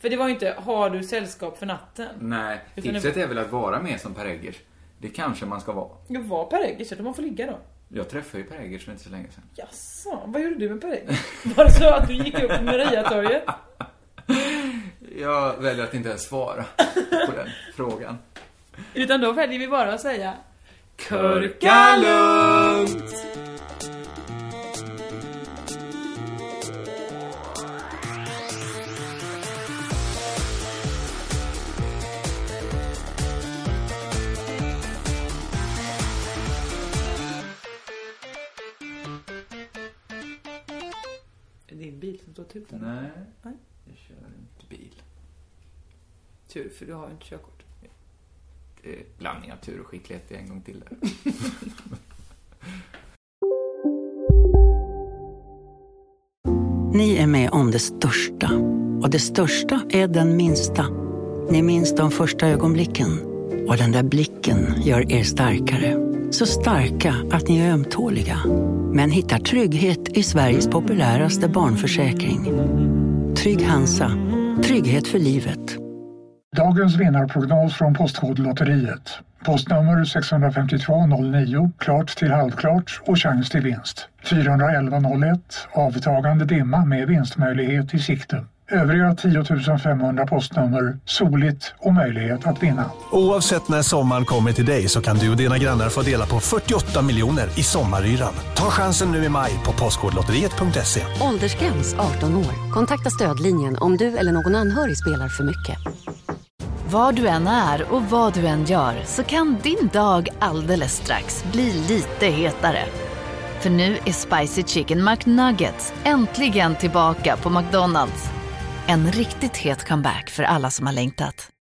Speaker 6: För det var ju inte, har du sällskap för natten?
Speaker 5: Nej,
Speaker 6: Utan
Speaker 5: tipset är väl att vara mer som Per Eggers. Det kanske man ska vara.
Speaker 6: Jag var Per Eggers, eller man får ligga då.
Speaker 5: Jag träffade ju Per Eggers för inte så länge sedan.
Speaker 6: Jaså, vad gjorde du med Per Eggers? Var det så att du gick upp på Mariatorget?
Speaker 5: Jag väljer att inte ens svara på den frågan.
Speaker 6: Utan då väljer vi bara att säga
Speaker 5: Körka lugnt!
Speaker 6: Din bil som står och tutar.
Speaker 5: Nej,
Speaker 6: Nej.
Speaker 5: jag kör inte bil.
Speaker 6: Tur, för du har ju inte körkort.
Speaker 5: Det är blandning av tur och skicklighet en gång till där.
Speaker 9: Ni är med om det största. Och det största är den minsta. Ni minns de första ögonblicken. Och den där blicken gör er starkare. Så starka att ni är ömtåliga. Men hittar trygghet i Sveriges populäraste barnförsäkring. Trygg Hansa. Trygghet för livet.
Speaker 10: Dagens vinnarprognos från Postkodlotteriet. Postnummer 65209, klart till halvklart och chans till vinst. 41101, avtagande dimma med vinstmöjlighet i sikte. Övriga 10 500 postnummer, soligt och möjlighet att vinna.
Speaker 11: Oavsett när sommaren kommer till dig så kan du och dina grannar få dela på 48 miljoner i sommaryran. Ta chansen nu i maj på Postkodlotteriet.se.
Speaker 12: Åldersgräns 18 år. Kontakta stödlinjen om du eller någon anhörig spelar för mycket.
Speaker 13: Var du än är och vad du än gör så kan din dag alldeles strax bli lite hetare. För nu är Spicy Chicken McNuggets äntligen tillbaka på McDonalds. En riktigt het comeback för alla som har längtat.